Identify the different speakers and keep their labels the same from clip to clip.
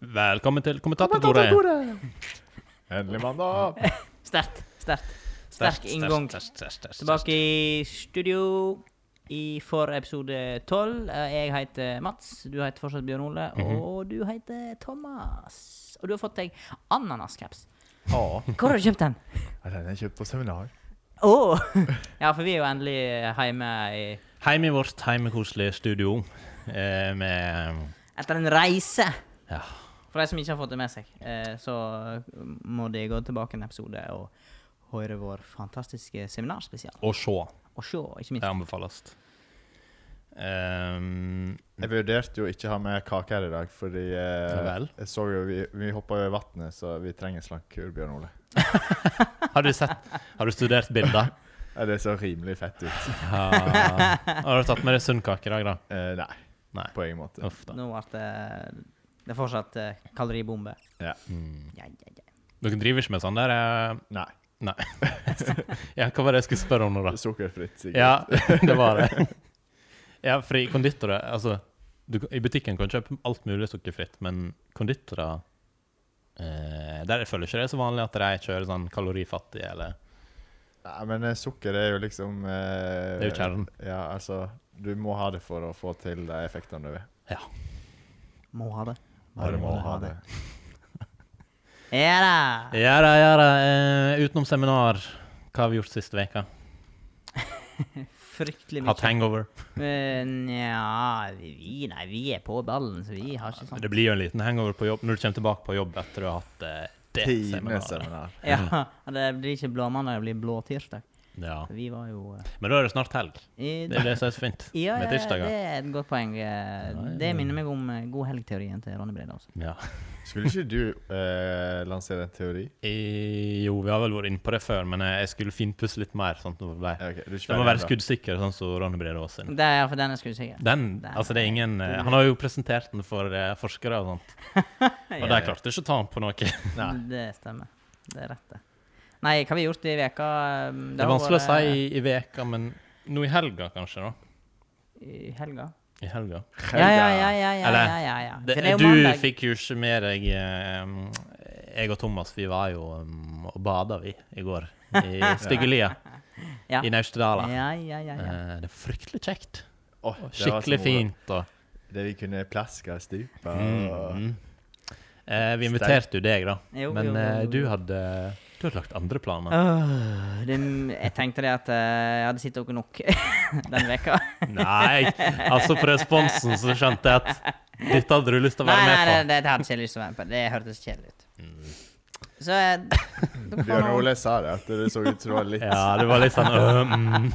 Speaker 1: Velkommen til kommentatorbordet.
Speaker 2: Endelig mandag.
Speaker 3: Sterkt. Sterkt.
Speaker 1: Sterkt,
Speaker 3: Sterk inngang.
Speaker 1: sterkt, sterkt, sterkt, sterkt.
Speaker 3: Tilbake i studio i for episode 12. Eh, Jeg heter Mats, du heter fortsatt Bjørn Ole,
Speaker 1: Mhm.
Speaker 3: og du heter Thomas. Og du har fått deg ananascaps.
Speaker 2: Ja.
Speaker 3: Hvor har du kjøpt den?
Speaker 2: Den er kjøpt på seminar.
Speaker 3: Å! Ja, for vi er jo endelig hjemme i
Speaker 1: Heim i vårt heimekoselige studio eh, med
Speaker 3: Etter en reise.
Speaker 1: Ja.
Speaker 3: For de som ikke har fått det med seg, eh, så må de gå tilbake en episode og høre vår fantastiske seminarspesial.
Speaker 1: Å se.
Speaker 3: Og se, ikke
Speaker 1: Det
Speaker 3: minst.
Speaker 1: anbefales. Um,
Speaker 2: Jeg vurderte jo ikke å ha med kake her i dag, fordi eh,
Speaker 1: Vel.
Speaker 2: jeg så jo vi, vi hoppa jo i vannet, så vi trenger en slankekur, Bjørn Ole.
Speaker 1: har, du sett, har du studert bilder?
Speaker 2: Ja, det så rimelig fett ut.
Speaker 1: Ja. Har du tatt med deg sundkake i dag, da?
Speaker 2: Eh, nei,
Speaker 1: Nei.
Speaker 2: på egen måte.
Speaker 1: Uff, da.
Speaker 3: Nå ble det Det er fortsatt eh, kaloribombe.
Speaker 2: Ja.
Speaker 1: Mm.
Speaker 3: Ja, ja, ja.
Speaker 1: Dere driver ikke med sånn der? eh,
Speaker 2: Nei.
Speaker 1: Nei. ja, hva var det jeg skulle spørre om nå, da?
Speaker 2: Sukkerfritt, sikkert.
Speaker 1: Ja, det var det. Ja, for i konditorer Altså, du, kan- i butikken kan du kjøpe alt mulig sukkerfritt, men konditorer eh, Der føler jeg ikke det er så vanlig at de kjører sånn kalorifattig eller
Speaker 2: Nei, men eh, sukker er jo liksom eh,
Speaker 1: Det er jo kjernen.
Speaker 2: Ja, altså, du må ha det for å få til de effektene du vil.
Speaker 3: Må ha det.
Speaker 1: Bare må ha
Speaker 3: Ja da!
Speaker 1: Ja da, ja da. Eh, utenom seminar, hva har vi gjort siste veka?
Speaker 3: Fryktelig mye.
Speaker 1: Hatt hangover.
Speaker 3: Men ja vi, Nei, vi er på ballen, så vi har ikke sånn
Speaker 1: Det blir jo en liten hangover på jobb når du kommer tilbake på jobb etter du har hatt eh, det
Speaker 2: Tiende
Speaker 3: altså.
Speaker 1: seminaret.
Speaker 2: seminar.
Speaker 3: Ja,
Speaker 1: Mm.
Speaker 3: Det blir ikke blåmandag, det blir blåtirsdag.
Speaker 1: Ja.
Speaker 3: Vi var jo eh,
Speaker 1: Men da er det snart helg.
Speaker 3: i,
Speaker 1: Det er det som er så fint
Speaker 3: Ja,
Speaker 1: med
Speaker 3: ja, ja, det
Speaker 1: tirsdager.
Speaker 3: er et godt poeng. Eh,
Speaker 1: Nei,
Speaker 3: Det
Speaker 1: men-
Speaker 3: minner meg om eh, god helg-teorien til Ronny Brede. Altså.
Speaker 1: Ja.
Speaker 2: Skulle ikke du eh, lansere en teori?
Speaker 1: Eh, Jo, vi har vel vært inne på det før, men eh, jeg skulle finpusse litt mer. sånn at det ble
Speaker 2: Ja, ok, du
Speaker 1: Den
Speaker 2: er ikke
Speaker 1: må
Speaker 2: ferdig
Speaker 1: være
Speaker 2: ennå.
Speaker 1: skuddsikker, sånn som Ronny Brede Aas sin.
Speaker 3: Det er for den jeg skulle si.
Speaker 1: Den,
Speaker 3: Den-
Speaker 1: altså det er ingen, eh, Han har jo presentert den for eh, forskere og sånt, og de klarte ikke å ta den på noe.
Speaker 2: Nei.
Speaker 3: Det stemmer. Det er rett, det. Nei, hva har vi gjort i veka? Um,
Speaker 1: Det er
Speaker 3: har
Speaker 1: vanskelig å si
Speaker 3: vært-
Speaker 1: i, i veka, men nå i helga kanskje, da.
Speaker 3: I helga?
Speaker 1: I helga.
Speaker 3: Ja, ja, ja. ja, ja,
Speaker 1: Eller,
Speaker 3: ja, ja, ja.
Speaker 1: Det,
Speaker 3: For det er jo
Speaker 1: du
Speaker 3: mandag.
Speaker 1: fikk jo ikke med deg eh, Jeg og Thomas vi var jo um, og bada vi i går. I Styggelia
Speaker 3: Ja.
Speaker 1: i Naustedala.
Speaker 3: Ja, ja, ja, ja.
Speaker 1: Eh, det er fryktelig kjekt.
Speaker 2: Åh, det var så
Speaker 1: Skikkelig
Speaker 2: moro.
Speaker 1: fint. og
Speaker 2: Det vi kunne plaske i stupet. og-
Speaker 1: Mm. Eh, vi inviterte jo deg, da.
Speaker 3: Jo,
Speaker 1: Men
Speaker 3: jo,
Speaker 1: eh,
Speaker 3: jo,
Speaker 1: du
Speaker 3: jo.
Speaker 1: hadde Du hadde lagt andre planer.
Speaker 3: Åh, det, jeg tenkte det at eh, jeg hadde sittet dere nok denne veka.
Speaker 1: Nei, altså på responsen så skjønte jeg at dette hadde du lyst til å
Speaker 3: Nei,
Speaker 1: være
Speaker 3: nei, det,
Speaker 1: med på. Mm.
Speaker 3: det hadde jeg ikke lyst til å være med på. Det hørtes kjedelig ut. Så eh, dere får
Speaker 2: Bjørn
Speaker 3: nå-
Speaker 2: Ole sa det, at det så ut som det var litt
Speaker 1: Ja, det var litt sånn øh, mm.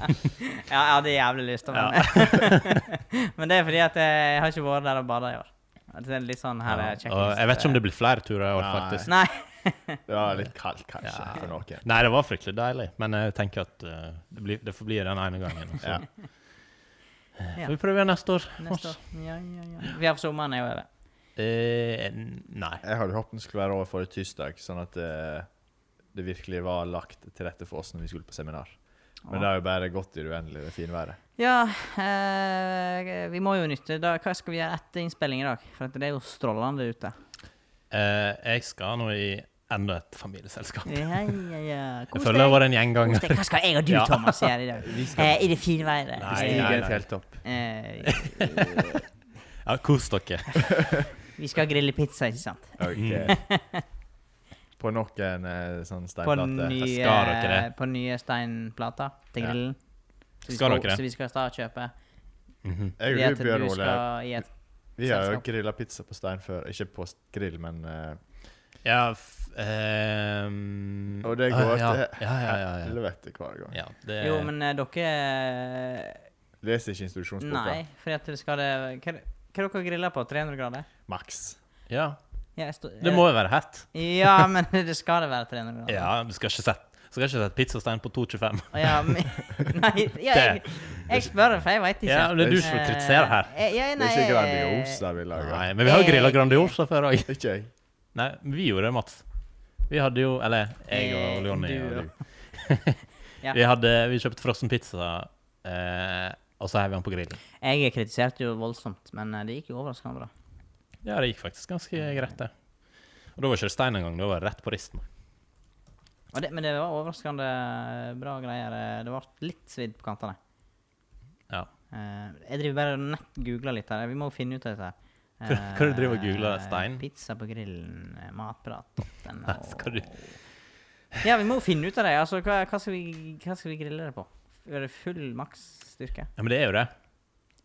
Speaker 3: Ja, jeg hadde jævlig lyst til å være med. Men det er fordi at eh, jeg har ikke vært der og bada i år. At Det er litt sånn her eh,
Speaker 1: Og
Speaker 3: checklist.
Speaker 1: Jeg vet ikke om det blir flere turer i år,
Speaker 2: Nei.
Speaker 1: faktisk.
Speaker 3: Nei.
Speaker 2: Det var litt kaldt, kanskje,
Speaker 1: Ja.
Speaker 2: for noen.
Speaker 1: Nei, det var fryktelig deilig, men jeg tenker at eh, det, blir, det får bli den ene gangen. og Så
Speaker 2: Ja.
Speaker 3: Ja.
Speaker 1: får vi prøver neste år.
Speaker 3: eh, Neste år. Ja, ja, ja. Vi har sommeren er jo over.
Speaker 1: Eh, nei.
Speaker 2: Jeg hadde håpet den skulle være over forrige tirsdag, sånn at det, det virkelig var lagt til rette for oss når vi skulle på seminar. Men det har jo bare gått i det uendelige, det finværet.
Speaker 3: Ja, eh, vi må jo nytte da, Hva skal vi gjøre etter innspilling i dag? For at det er jo strålende ute.
Speaker 1: Eh, jeg skal nå i enda et familieselskap.
Speaker 3: Ja, ja, ja.
Speaker 1: Jeg føler det har vært en gjengganger.
Speaker 3: Kos deg. Hva skal jeg og du,
Speaker 1: Ja.
Speaker 3: Thomas, gjøre i dag? Eh, I det fine været.
Speaker 1: Nei,
Speaker 2: Stigen
Speaker 1: nei, nei.
Speaker 2: fjelltopp.
Speaker 3: Eh,
Speaker 1: Ja, kos dere.
Speaker 3: vi skal grille pizza, ikke sant?
Speaker 1: Mm.
Speaker 2: Ok. På noen eh, sånn
Speaker 3: På
Speaker 2: steinplate.
Speaker 1: Jeg
Speaker 3: nye,
Speaker 1: skal dere det.
Speaker 3: på nye steinplater til
Speaker 2: Ja.
Speaker 3: grillen. Så vi
Speaker 1: Skal
Speaker 3: skal,
Speaker 1: dere det?
Speaker 3: så vi skal starte å kjøpe.
Speaker 1: Mhm.
Speaker 2: Jeg
Speaker 3: Fordi
Speaker 2: og
Speaker 3: at
Speaker 2: du, Bjørn
Speaker 3: du
Speaker 2: Ole,
Speaker 3: skal i et-
Speaker 2: vi har jo
Speaker 3: selskap.
Speaker 2: grilla pizza på stein før. Ikke på s- grill, men eh,
Speaker 1: Ja, f ehm,
Speaker 2: Og det går
Speaker 1: ja,
Speaker 2: til
Speaker 1: ja, ja, ja, ja.
Speaker 2: helvete hver gang.
Speaker 1: ja det,
Speaker 3: Jo, men eh, dere
Speaker 2: Leser ikke instruksjonsboka.
Speaker 3: Nei, fordi at det skal det Hva hva dere griller på? 300 grader?
Speaker 2: Maks.
Speaker 1: ja,
Speaker 3: Ja, jeg står- eh,
Speaker 1: det må jo være hett.
Speaker 3: Ja, men det skal det være 300 grader.
Speaker 1: Ja, du skal ikke sette, du skal ikke sette pizzastein på 2,25.
Speaker 3: Å, Ja, men, nei, ja, jeg, jeg spør, for jeg veit ikke.
Speaker 1: Ja, det er du som
Speaker 3: Eh,
Speaker 1: kritiserer her.
Speaker 3: eh, ja,
Speaker 2: Det
Speaker 3: nei,
Speaker 2: er ikke Grandiosa vi lager.
Speaker 1: Nei, men vi har jo grilla
Speaker 3: Eh.
Speaker 1: Grandiosa før òg.
Speaker 2: Ikke jeg.
Speaker 1: Nei, vi gjorde det, Mats. Vi hadde jo Eller jeg og
Speaker 3: Eh,
Speaker 1: Leonie
Speaker 3: du
Speaker 1: og
Speaker 3: og-
Speaker 1: du.
Speaker 3: Jeg, Ja.
Speaker 1: Vi, hadde, vi kjøpte frossen pizza, eh, og så heiv vi den på grillen.
Speaker 3: Jeg kritiserte jo voldsomt, men eh, det gikk jo overraskende bra.
Speaker 1: Ja, det gikk faktisk ganske greit, det. Og da var ikke det stein engang, da var det rett på risten.
Speaker 3: Og det, men det var overraskende bra greier. eh, Det ble litt svidd på kantene.
Speaker 1: Ja.
Speaker 3: Eh, jeg driver bare og nett googler litt her. Vi må finne ut av dette. her.
Speaker 1: Hva- hva du driver og googler,
Speaker 3: Eh,
Speaker 1: Stein?
Speaker 3: Pizza på grillen, eh, matprat.no.
Speaker 1: Skal du-
Speaker 3: Ja, vi må jo finne ut av det. Altså, hva, hva, skal vi, hva skal vi grille det på? Er det full maksstyrke?
Speaker 1: ja, men det er jo det.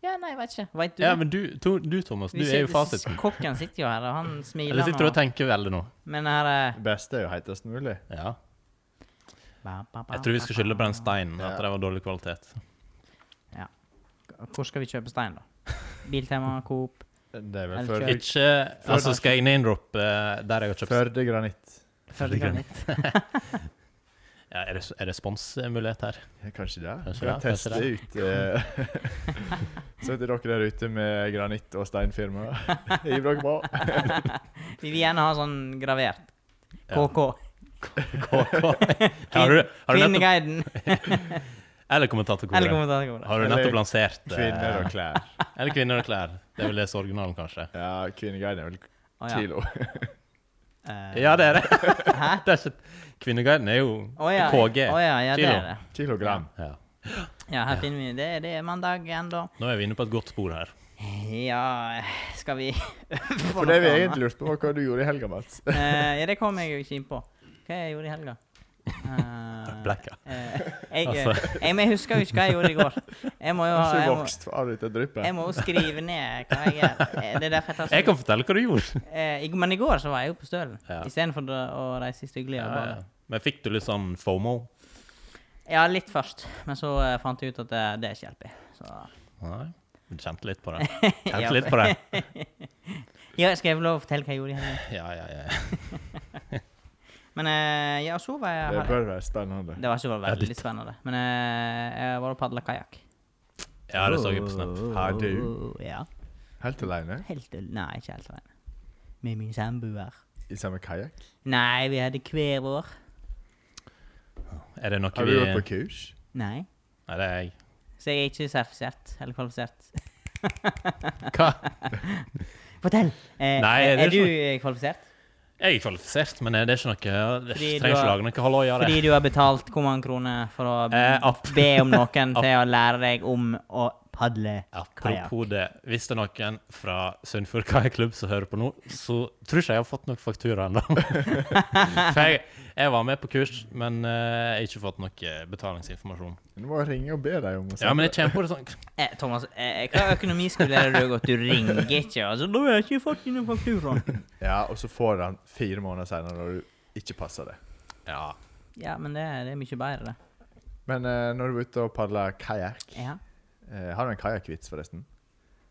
Speaker 3: Ja, nei, jeg vet ikke. Vet du?
Speaker 1: Ja, men du, to, du Thomas, du
Speaker 3: Vi
Speaker 1: er jo
Speaker 3: sitter-
Speaker 1: fasiten.
Speaker 3: Kokken sitter jo her, og han
Speaker 1: Eller
Speaker 3: smiler
Speaker 1: sitter du og
Speaker 3: nå.
Speaker 1: tenker veldig nå?
Speaker 3: Men her er
Speaker 2: Det beste er jo heitest mulig.
Speaker 1: Ja. Jeg tror vi skal skylde på den steinen, at det var dårlig kvalitet.
Speaker 3: Hvor skal vi kjøpe stein, da? Biltema, Coop,
Speaker 2: Det er
Speaker 3: Eller
Speaker 2: vel Førde,
Speaker 3: kjøtt.
Speaker 1: Ikke Altså, skal jeg name-droppe eh, der jeg har kjøpt
Speaker 2: Førde granitt.
Speaker 3: Førde Granitt.
Speaker 1: ja, Er det s- er det responsmulighet her?
Speaker 2: Ja, Kanskje det.
Speaker 1: Kanskje
Speaker 2: Kanskje kan
Speaker 1: det, kanskje
Speaker 2: teste ut eh, Så til dere der ute med granitt- og steinfirma. Hiv dere på.
Speaker 3: Vi vil gjerne ha sånn gravert.
Speaker 1: Ja.
Speaker 3: KK.
Speaker 1: KK. Har du, har du nettopp,
Speaker 3: Kvinneguiden.
Speaker 1: eller kommentator
Speaker 3: Eller
Speaker 1: Kore.
Speaker 3: kommentatorkoret.
Speaker 1: Har du
Speaker 2: Eller
Speaker 1: nettopp lansert eh,
Speaker 2: Kvinner og klær.
Speaker 1: Eller kvinner og klær. Det er vel det som er originalen, kanskje.
Speaker 2: Ja, kvinneguiden er vel
Speaker 3: Å, ja.
Speaker 2: kilo.
Speaker 3: Eh,
Speaker 1: Ja, det er det.
Speaker 3: Hæ?
Speaker 1: det er ikke, kvinneguiden er jo
Speaker 3: Å ja.
Speaker 1: KG.
Speaker 3: Å ja, ja, det
Speaker 1: Kilo.
Speaker 3: er det.
Speaker 2: Kilogram.
Speaker 1: Ja.
Speaker 3: Ja, her finner vi det. Det er mandag ennå.
Speaker 1: Nå er vi inne på et godt spor her.
Speaker 3: Ja Skal vi
Speaker 2: For det vi egentlig lurte på, var hva du gjorde i helga, Mats.
Speaker 3: Eh, ja, det kom jeg jo ikke inn på. Hva jeg gjorde i helga? Eh,
Speaker 1: Blackout.
Speaker 3: eh, jeg, eh,
Speaker 1: Altså.
Speaker 3: jeg, men jeg husker jo ikke hva jeg gjorde i går. Jeg må jo, ha-
Speaker 2: Ikke
Speaker 3: jeg må,
Speaker 2: vokst fra dette
Speaker 3: jeg
Speaker 2: dryppet.
Speaker 3: må jo skrive ned hva jeg gjør. Eh, Det er derfor jeg tar så-
Speaker 1: Jeg kan fortelle hva du gjorde.
Speaker 3: Eh, i- Men i går så var jeg jo på Stølen
Speaker 1: Ja.
Speaker 3: istedenfor å- å reise styggelig.
Speaker 1: Ja,
Speaker 3: og
Speaker 1: ja.
Speaker 3: bare-
Speaker 1: Eh, Men fikk du litt sånn fomo?
Speaker 3: Ja, litt først, men så eh, fant jeg ut at det, det er ikke hjelpig. Så
Speaker 1: Nei. Du kjente litt på det.
Speaker 3: Ja.
Speaker 1: Kjente litt på det.
Speaker 3: ja, skal jeg få lov å fortelle hva jeg gjorde i helga?
Speaker 1: Ja, ja, ja.
Speaker 3: Men eh, ja, så var jeg
Speaker 2: Det bør være spennende.
Speaker 3: Det var ikke
Speaker 1: Ja,
Speaker 3: veldig
Speaker 1: litt.
Speaker 3: spennende. Men eh, jeg var og padla kajakk.
Speaker 1: Ja, det så jeg på Snap.
Speaker 2: Har du
Speaker 3: Ja.
Speaker 2: helt alene
Speaker 3: Helt øl- Nei, ikke helt alene. Med min samboer.
Speaker 2: i samme kajakk?
Speaker 3: Nei, vi hadde hver vår.
Speaker 1: Er det noe
Speaker 2: Har
Speaker 1: vi
Speaker 2: du gått på kurs?
Speaker 3: Nei.
Speaker 1: Nei, det er jeg.
Speaker 3: Så jeg er ikke sertifisert eller kvalifisert.
Speaker 1: Hva?
Speaker 3: Fortell! Eh,
Speaker 1: Nei,
Speaker 3: er,
Speaker 1: det er
Speaker 3: er du eh, kvalifisert?
Speaker 1: Jeg er kvalifisert, men det er ikke noe Jeg
Speaker 3: Fordi
Speaker 1: trenger
Speaker 3: du
Speaker 1: ikke
Speaker 3: har-
Speaker 1: lage noe halloi av det.
Speaker 3: Fordi du har betalt hvor mange kroner for å
Speaker 1: Eh, app.
Speaker 3: be om noen
Speaker 1: App.
Speaker 3: til å lære deg om å padle kajakk?
Speaker 1: Apropos det, hvis det er noen fra Sunnfjord Kajakklubb som hører på nå, så tror ikke jeg har fått noen faktura ennå. For jeg, jeg var med på kurs, men eh, jeg har ikke fått noe betalingsinformasjon.
Speaker 2: Du må ringe og be dem om å
Speaker 1: Ja, men jeg kommer på det sånn
Speaker 3: Eh, Thomas, eh, hva økonomiskole er det du har gått? Du ringer ikke, altså. Da har jeg ikke fått noen fakturaer.
Speaker 2: Ja, og så får du den fire måneder senere når du ikke passer det.
Speaker 1: Ja.
Speaker 3: Ja, men det, det er mye bedre, det.
Speaker 2: Men eh, når du er ute og padler kajakk
Speaker 3: Ja.
Speaker 2: eh, Har du en kajakkvits, forresten?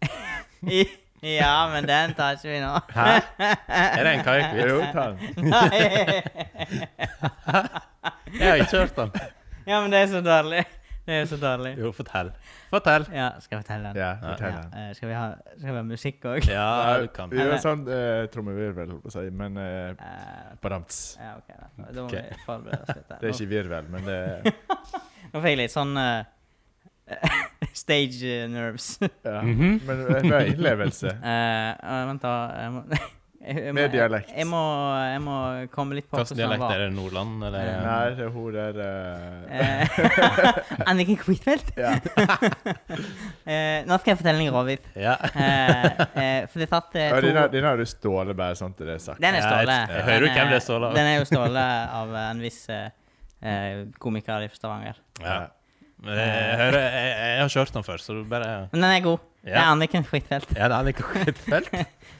Speaker 3: ja, men den tar ikke vi nå.
Speaker 1: Hæ? Er det en kajakkvits?
Speaker 2: Jo, ta den.
Speaker 1: Jeg har ikke hørt den.
Speaker 3: ja, men det er så dårlig. Det er så dårlig.
Speaker 1: Jo, fortell. Fortell.
Speaker 3: Ja, skal jeg fortelle den?
Speaker 2: Ja, fortell
Speaker 3: Ja,
Speaker 2: den.
Speaker 3: eh, skal, vi ha, skal vi ha musikk òg?
Speaker 1: Ja, du kan.
Speaker 2: Vi gjør en sånn eh, trommevirvel, holdt på å si, men eh, badamts.
Speaker 3: ja, OK. Da, da må
Speaker 1: Ok.
Speaker 3: vi forberede oss litt. der.
Speaker 2: Det er
Speaker 3: Nå-
Speaker 2: ikke virvel, men det er
Speaker 3: Nå fikk jeg litt sånn eh, stage eh, nerves.
Speaker 2: ja.
Speaker 1: Mhm.
Speaker 2: Men det er en innlevelse.
Speaker 3: Eh, eh, vent, da. Jeg må, jeg, jeg,
Speaker 2: Med dialekt.
Speaker 3: Jeg, må, jeg må komme litt på
Speaker 1: Hvilken dialekt er det? Nordland,
Speaker 3: Ja.
Speaker 1: eller?
Speaker 2: Nei, det er hun der eh,
Speaker 3: Eh, Anniken Kvitfeldt?
Speaker 2: Ja.
Speaker 3: Eh, nå skal jeg fortelle en råvits.
Speaker 1: Ja.
Speaker 3: Eh, eh, for det er tatt eh,
Speaker 2: ja,
Speaker 3: to
Speaker 2: Denne denne har du stålet bare sånn til det er sagt.
Speaker 3: Den er
Speaker 1: Ja,
Speaker 3: Ståle.
Speaker 1: jeg- jeg hører jo
Speaker 3: Den
Speaker 1: hvem det er Ståle av.
Speaker 3: Den er jo Ståle av en viss eh, eh, komiker i Stavanger.
Speaker 1: ja. Men jeg, hører, jeg, jeg har ikke hørt den før, så du bare
Speaker 3: Men den er god. Det er
Speaker 1: Ja.
Speaker 3: Anniken Huitfeldt.
Speaker 1: Ja, det er Annika Huitfeldt.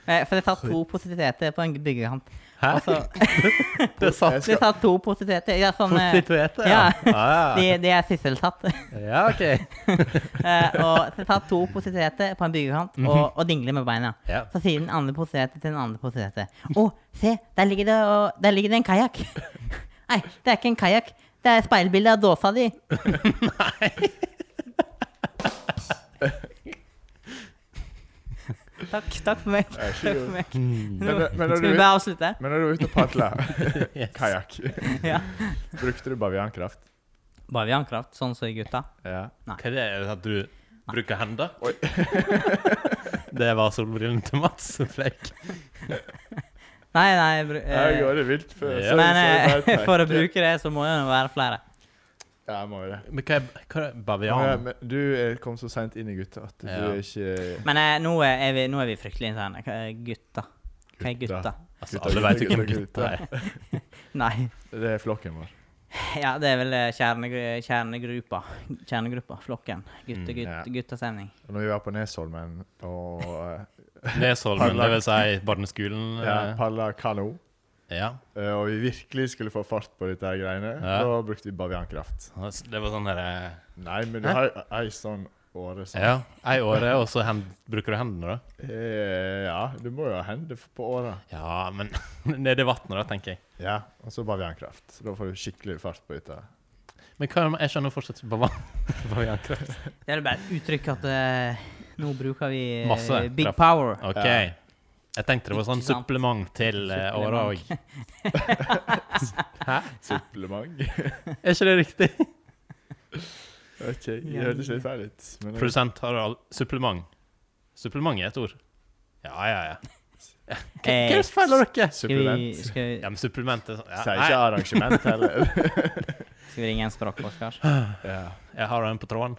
Speaker 3: Eh, For det er tatt to poteteter på en byggekant.
Speaker 1: Hæ?
Speaker 3: Og så-
Speaker 1: Det satt
Speaker 3: Det er tatt to poteteter. Ja, sånn eh,
Speaker 1: prostituerte,
Speaker 3: ja.
Speaker 1: Ja, ja.
Speaker 3: de, de er sysseltatt.
Speaker 1: ja OK.
Speaker 3: Eh, og så tar to poteteter på en byggekant
Speaker 1: Mhm.
Speaker 3: og, og dingler med beina.
Speaker 1: Ja.
Speaker 3: Så sier den andre poteteten til den andre poteteten Å, se, der ligger det, og, der ligger det en kajakk. Nei, det er ikke en kajakk. Det er speilbildet av dåsa di. takk, takk for meg.
Speaker 2: vær så
Speaker 3: Takk for
Speaker 2: god.
Speaker 3: meg.
Speaker 2: Mm. Men,
Speaker 3: Nå,
Speaker 2: men, når
Speaker 3: skal
Speaker 2: du,
Speaker 3: vi bare avslutte?
Speaker 2: men når du er ute og padler
Speaker 1: Yes.
Speaker 2: kajakk,
Speaker 3: Ja.
Speaker 2: brukte du baviankraft?
Speaker 3: Baviankraft, sånn som gutta.
Speaker 2: Ja.
Speaker 1: Hva er det at du bruker hender? det var solbrillene til Mats. Flekk.
Speaker 3: Nei, nei bru,
Speaker 2: Jeg
Speaker 3: eh,
Speaker 2: gjør det vilt før.
Speaker 1: Ja.
Speaker 2: så-
Speaker 3: Men
Speaker 2: så jeg
Speaker 3: eh,
Speaker 2: bare
Speaker 3: for å
Speaker 2: tenker-
Speaker 3: bruke det, så må det jo være flere.
Speaker 2: Ja, jeg må jo det.
Speaker 1: Men hva er, hva er
Speaker 2: Ja,
Speaker 1: bavian?
Speaker 2: men du eh, kom så seint inn i gutta at
Speaker 1: Ja.
Speaker 2: du er ikke
Speaker 3: Men eh, nå, er vi, nå er vi fryktelig interne. Hva er Gutta. Hva er gutta?
Speaker 1: Altså, alle vet jo hvem gutta er.
Speaker 3: Nei.
Speaker 2: Det er flokken vår.
Speaker 3: Ja, det er vel eh, kjernegru- kjernegruppa. Kjernegruppa, flokken. Gutte,
Speaker 1: Mm,
Speaker 2: ja.
Speaker 3: gutt, Guttastemning.
Speaker 2: Og Når vi var på Nesholmen og eh,
Speaker 1: Nesholmen, det vil si barneskolen.
Speaker 2: ja,
Speaker 1: eh,
Speaker 2: padla kano,
Speaker 1: Ja.
Speaker 2: eh, og vi virkelig skulle få fart på dette her greiene,
Speaker 1: Ja.
Speaker 2: da brukte vi baviankraft.
Speaker 1: Det var sånn herre
Speaker 2: Nei, men du
Speaker 1: Hæ?
Speaker 2: har ei sånn åre som
Speaker 1: Ja, ei åre, og så hen- bruker du hendene, da?
Speaker 2: Eh, ja, du må jo ha hender på åra.
Speaker 1: Ja, men nede i vannet, da, tenker jeg.
Speaker 2: Ja, og så baviankraft. Da får du skikkelig fart på dette.
Speaker 1: Men hva er det- jeg skjønner fortsatt ikke bavian- baviankraft.
Speaker 3: Det er vel bare et uttrykk at eh, nå bruker vi eh,
Speaker 1: Masse
Speaker 3: big
Speaker 1: kraft.
Speaker 3: power.
Speaker 1: OK.
Speaker 2: Ja.
Speaker 1: Jeg tenkte det var sånn
Speaker 3: Ikke sant.
Speaker 1: supplement til eh, åra òg. Hæ?
Speaker 2: Supplement.
Speaker 1: Er ikke det riktig?
Speaker 2: OK, det hørtes litt feil ut. Men det
Speaker 1: Produsent Harald, supplement. Supplement er et ord. Ja, ja, ja. Hva
Speaker 3: Eh,
Speaker 1: hva er det som feiler dere?
Speaker 3: Skal vi,
Speaker 2: supplement.
Speaker 3: Eh, skal,
Speaker 1: Ja,
Speaker 3: vi,
Speaker 1: men supplement er sånn ja,
Speaker 2: Sier ikke
Speaker 1: nei,
Speaker 2: arrangement heller.
Speaker 3: skal vi ringe en språkforsker?
Speaker 2: ja.
Speaker 1: Jeg har en på tråden.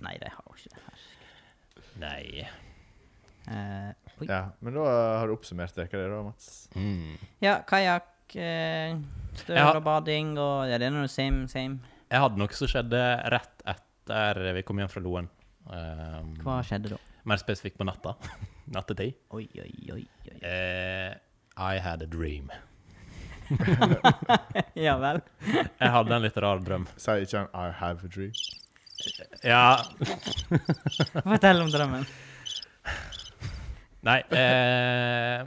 Speaker 3: Nei, det har vi ikke. Her.
Speaker 1: Nei.
Speaker 3: Eh, oi.
Speaker 2: ja, Men da har du oppsummert dere det, da, Mats.
Speaker 1: Mm.
Speaker 3: ja, kajakk, eh, støl
Speaker 1: Jeg har-
Speaker 3: og bading og Ja, det er noe same, same.
Speaker 1: Jeg hadde noe som skjedde rett etter vi kom hjem fra Loen. Um,
Speaker 3: Hva skjedde da?
Speaker 1: Mer spesifikt på natta. Nattetid.
Speaker 3: Oi, oi, oi. oi.
Speaker 1: Eh, I had a dream.
Speaker 3: Ja vel.
Speaker 1: Jeg hadde en litt rar drøm.
Speaker 2: Sier ikke han 'I have a dream'?
Speaker 1: Ja,
Speaker 3: Fortell om drømmen.
Speaker 1: nei eh,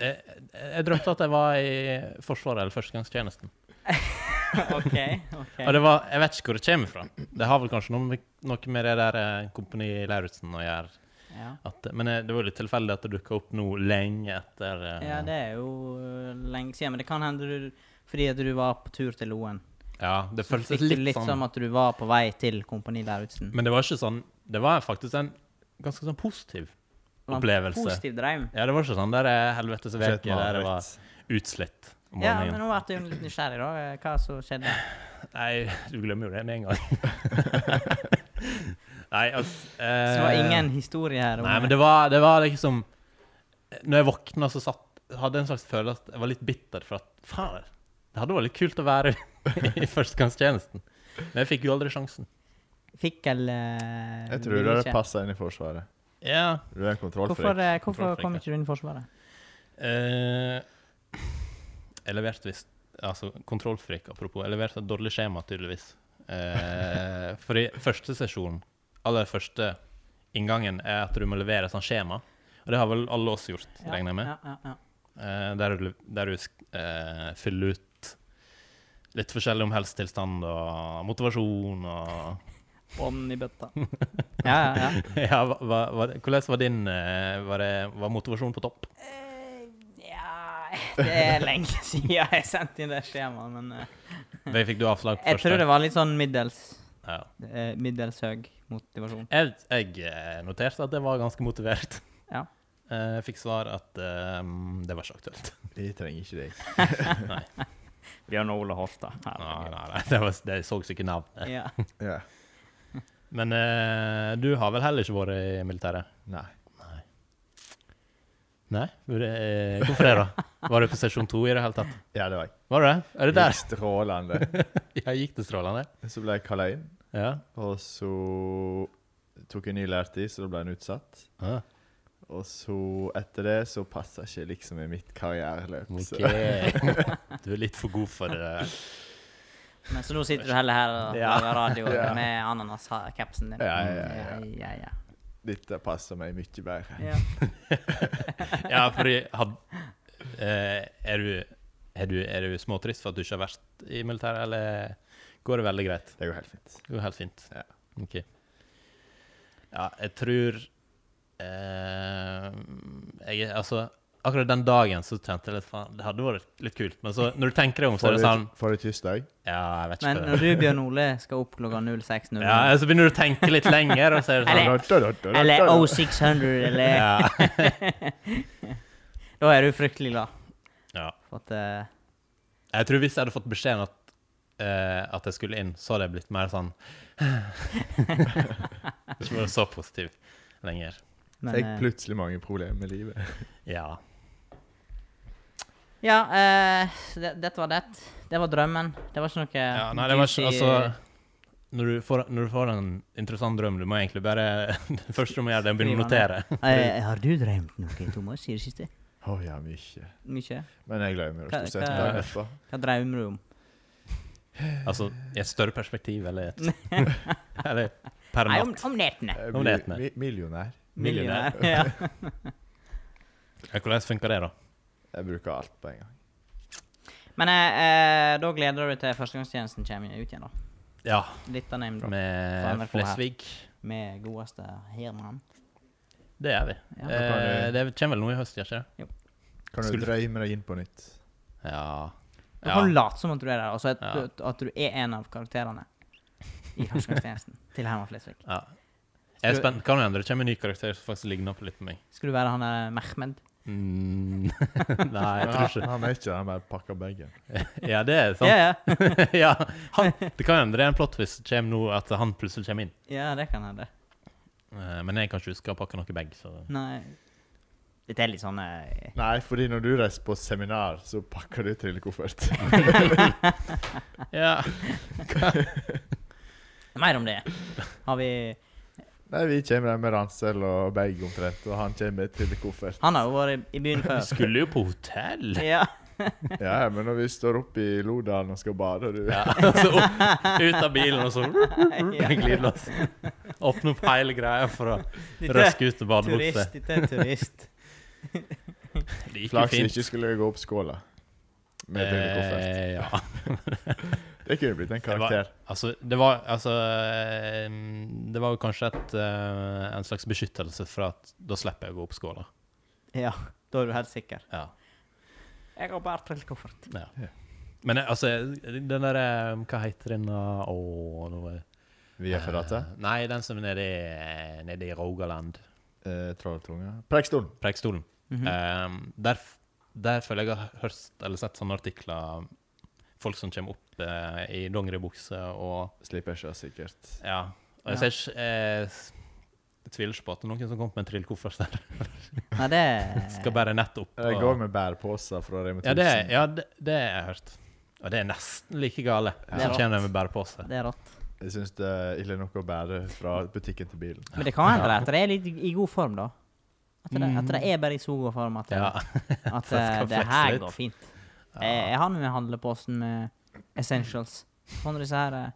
Speaker 1: jeg, jeg drømte at jeg var i Forsvaret eller førstegangstjenesten.
Speaker 3: OK.
Speaker 1: Og
Speaker 3: ok.
Speaker 1: det var, jeg vet ikke hvor det kommer fra. Det har vel kanskje noe med, noe med det der eh, Kompani Lauritzen å gjøre.
Speaker 3: Ja.
Speaker 1: At, men eh, det var jo litt tilfeldig at det dukka opp nå lenge etter eh,
Speaker 3: ja, det er jo eh, lenge siden. Men det kan hende du Fordi at du var på tur til Loen.
Speaker 1: Ja, det
Speaker 3: Så
Speaker 1: føltes
Speaker 3: fikk du
Speaker 1: litt,
Speaker 3: litt
Speaker 1: sånn.
Speaker 3: som at du var på vei til Kompani Lauritzen.
Speaker 1: Men det var ikke sånn Det var faktisk en ganske sånn positiv
Speaker 3: Det var en
Speaker 1: opplevelse.
Speaker 3: Positiv drøm.
Speaker 1: Ja, det var ikke sånn der eh, helvetes
Speaker 2: Ikke et
Speaker 1: veke der jeg var
Speaker 2: mareritt.
Speaker 1: utslitt om
Speaker 3: Ja, men
Speaker 1: morgenen.
Speaker 3: nå ble jeg jo litt nysgjerrig, da. eh, Hva som skjedde?
Speaker 1: Nei, du glemmer jo det med en gang. Nei, altså eh,
Speaker 3: Så det var ingen historie her. om-
Speaker 1: Nei, men det var, det var liksom Når jeg våkna, så satt hadde jeg en slags følelse at jeg var litt bitter for at Faen, det hadde vært litt kult å være i førstegangstjenesten. Men jeg fikk jo aldri sjansen.
Speaker 3: Fikkel eh,
Speaker 2: Jeg tror
Speaker 3: ville
Speaker 2: det
Speaker 3: ikke.
Speaker 2: passer inn i Forsvaret.
Speaker 1: Ja,
Speaker 2: Du er en kontrollfrik.
Speaker 3: Hvorfor, eh, hvorfor
Speaker 1: Kontrollfreak,
Speaker 3: kom
Speaker 1: ja.
Speaker 3: ikke du inn i Forsvaret?
Speaker 1: Eh, jeg leverte visst Altså, kontrollfrik, apropos. Jeg leverte et dårlig skjema, tydeligvis. Eh, for i første sesjon, aller første inngangen, er at du må levere et sånt skjema. Og det har vel alle oss gjort,
Speaker 3: Ja,
Speaker 1: regner jeg med.
Speaker 3: Ja, ja, ja.
Speaker 1: Eh, der du, der du sk- eh, fyller ut litt forskjellig om helsetilstand og motivasjon og
Speaker 3: Ånden i bøtta. ja, ja, ja.
Speaker 1: Ja, hva, hva, hva- hvordan var din eh, var, det, var motivasjon på topp?
Speaker 3: Eh, ja Det er lenge siden jeg sendte inn det skjemaet, men eh,
Speaker 1: Det fikk du avslag på
Speaker 3: jeg tror det var litt sånn middels,
Speaker 1: Ja.
Speaker 3: eh, middels høy motivasjon.
Speaker 1: Jeg, jeg eh, noterte at jeg var ganske motivert.
Speaker 3: Ja.
Speaker 1: Eh, Jeg fikk svar at eh, det var ikke aktuelt.
Speaker 2: Jeg trenger ikke deg.
Speaker 1: Nei,
Speaker 3: Bjørn Ole Horstad.
Speaker 1: nei, nei, nei. Det, var, det så ikke navnet.
Speaker 3: Ja.
Speaker 2: Ja.
Speaker 1: Men eh, du har vel heller ikke vært i militæret?
Speaker 2: Nei.
Speaker 1: Nei? Hvor- eh, Hvorfor det, da? Var du på sesjon to i det hele tatt?
Speaker 2: Ja, det var jeg.
Speaker 1: Var du det? Er det
Speaker 2: Gikk
Speaker 1: der?
Speaker 2: Strålende.
Speaker 1: Ja, gikk det strålende?
Speaker 2: Så ble jeg kalla inn,
Speaker 1: Ja.
Speaker 2: og så tok jeg ny lærtid, så da ble jeg utsatt.
Speaker 1: Ah,
Speaker 2: Og så etter det så passer ikke liksom i mitt karriereløp. så-
Speaker 1: ok. Du er litt for god for eh, det.
Speaker 3: Men så nå sitter du heller her og
Speaker 1: Ja.
Speaker 3: lager radio
Speaker 2: Ja.
Speaker 3: med ananas-capsen din.
Speaker 2: Ja, ja, ja, ja.
Speaker 3: ja, ja.
Speaker 2: Dette passer meg mye bedre.
Speaker 3: Ja.
Speaker 1: Ja, fordi had, eh, er, du, er, du, er du småtrist for at du ikke har vært i militæret, eller går det veldig greit?
Speaker 2: Det går helt fint.
Speaker 1: Det går helt fint.
Speaker 2: Ja.
Speaker 1: Ok. Ja, jeg tror eh, jeg, Altså, akkurat den dagen så tenkte jeg litt faen, det hadde vært litt kult. Men så, når du tenker deg om, så er det
Speaker 2: Forrige
Speaker 1: sånn
Speaker 2: forrige tirsdag?
Speaker 1: Ja, jeg vet ikke
Speaker 3: Men
Speaker 1: hva
Speaker 3: når
Speaker 1: det er.
Speaker 3: du, Bjørn Ole, skal opp klokka 06.00
Speaker 1: Ja, så begynner du å tenke litt lenger, og så er det sånn
Speaker 3: Eller- Eller
Speaker 1: oh,
Speaker 3: 0600, eller
Speaker 1: ja.
Speaker 3: Da er du fryktelig glad.
Speaker 1: Ja.
Speaker 3: For at eh,
Speaker 1: Jeg tror hvis jeg hadde fått beskjeden at, eh, at jeg skulle inn, så hadde jeg blitt mer sånn Ikke vært så positiv lenger.
Speaker 3: men,
Speaker 2: Fikk
Speaker 3: eh,
Speaker 2: plutselig mange problemer med livet.
Speaker 1: Ja.
Speaker 3: Ja, eh, så det, dette var det. Det var drømmen. Det var ikke noe
Speaker 1: ja nei, det var ikke
Speaker 3: juicy-
Speaker 1: Altså når du, får, når du får en interessant drøm, du må egentlig bare Det første du må gjøre, det er å begynne å notere.
Speaker 3: Eh, Har du drømt noe, Thomas, i det siste?
Speaker 2: Å ja, mye.
Speaker 3: Mye?
Speaker 2: Men jeg glemmer det
Speaker 3: Hva-
Speaker 2: stort sett.
Speaker 3: hva-
Speaker 2: dagen etterpå.
Speaker 3: Hva drømmer du om?
Speaker 1: Altså i et større perspektiv, eller et Eller per
Speaker 3: Nei, om,
Speaker 1: natt.
Speaker 3: om nettene.
Speaker 2: Jeg
Speaker 1: Nå vet
Speaker 2: blir
Speaker 1: vi.
Speaker 2: mi millionær.
Speaker 1: Millionær.
Speaker 3: Ja.
Speaker 1: Ja, Hvordan funker det, da?
Speaker 2: Jeg bruker alt på en gang.
Speaker 3: Men eh, eh, da gleder du deg til førstegangstjenesten kommer ut igjen, da.
Speaker 1: Ja,
Speaker 3: Litt av name drop
Speaker 1: med
Speaker 3: NRK her.
Speaker 1: Flesvig.
Speaker 3: med godeste Herman.
Speaker 1: Det er vi.
Speaker 3: Ja.
Speaker 1: Eh, det kommer vel noe i høst, gjør ikke det?
Speaker 2: Kan du
Speaker 1: Skulle-
Speaker 2: drømme deg inn på nytt?
Speaker 1: Ja.
Speaker 3: Du kan late som at du er der, og så at,
Speaker 1: Ja.
Speaker 3: at, at du er en av karakterene i førstegangstjenesten til Herman Flesvig.
Speaker 1: Ja. Jeg er spent. Kan hende det kommer en ny karakter som faktisk ligner på litt på meg.
Speaker 3: Skulle du være han der Mehmed?
Speaker 1: Mm. Nei, jeg tror
Speaker 2: Men
Speaker 1: ikke
Speaker 2: han- Han er ikke det, han bare pakker bagen.
Speaker 1: Ja, det er sant.
Speaker 3: Ja, ja.
Speaker 1: ja, han, det kan hende det er en plott hvis det kommer nå at han plutselig kommer inn.
Speaker 3: ja, det kan hende.
Speaker 1: Eh, Men jeg kan ikke huske å pakke noe bag, så
Speaker 3: Nei Dette er litt sånn eh,
Speaker 2: Nei, fordi når du reiser på seminar, så pakker du trillekoffert.
Speaker 1: Ja.
Speaker 3: Mer om det. Har vi
Speaker 2: Nei, vi kommer der med ransel og bag omtrent, og han kommer med trillekoffert.
Speaker 3: Han har jo vært i- i byen
Speaker 1: Vi
Speaker 3: før.
Speaker 1: skulle jo på hotell!
Speaker 3: Ja.
Speaker 2: Ja, ja, men når vi står oppe i Lodalen og skal bade, og du
Speaker 1: Ja, så opp, ut av bilen, og så glidelås. Åpne opp hele greia for å
Speaker 3: Dette
Speaker 1: røske ut til
Speaker 3: er turist.
Speaker 1: badebukse.
Speaker 3: Dette er turist.
Speaker 1: Det gikk jo
Speaker 2: Flaks
Speaker 1: fint.
Speaker 2: ikke skulle gå opp skåla med trillekoffert.
Speaker 1: Eh, ja.
Speaker 2: Det kunne blitt en karakter.
Speaker 1: Altså, det var Altså ehm, Det var jo kanskje et, eh, en slags beskyttelse for at da slipper jeg å gå opp skåla.
Speaker 3: Ja, da er du helt sikker.
Speaker 1: Ja.
Speaker 3: Jeg har bare trillekoffert.
Speaker 1: Men eh, altså, den derre Hva heter den da? Å, nå er-
Speaker 2: Vi er forlatt.
Speaker 1: Eh, Nei, den som er nede, i- eh, nede i Rogaland.
Speaker 2: Eh, Trolltunga. Preikestolen.
Speaker 1: Preikestolen.
Speaker 3: Mhm.
Speaker 1: Eh, der, f- der føler jeg jeg har hørt eller sett sånne artikler Folk som kommer opp eh, i dongeribukse og
Speaker 2: Slipper ikke sikkert.
Speaker 1: Ja. Og jeg
Speaker 3: Ja.
Speaker 1: ser ikke eh, s- Jeg tviler ikke på at det er noen som kom med en trillekoffert der.
Speaker 3: Nei, det
Speaker 1: Skal bære nett opp.
Speaker 2: De
Speaker 1: og-
Speaker 2: går med bæreposer fra Rema 1000.
Speaker 1: Ja, det, ja det, det har jeg hørt. Og det er nesten like gale.
Speaker 3: Det er
Speaker 1: Så kommer de med bærepose.
Speaker 3: Det er rått.
Speaker 2: Jeg syns det er ille nok å bære fra butikken til bilen.
Speaker 3: Men det kan hende at det er litt i god form, da. At det, at det er bare i så god form at,
Speaker 1: Ja.
Speaker 3: at
Speaker 1: Så jeg skal
Speaker 3: eh, det
Speaker 1: flekse
Speaker 3: her
Speaker 1: litt.
Speaker 3: går fint. Eh, Jeg, jeg har nå en handleposen med essentials. Sånn disse her eh,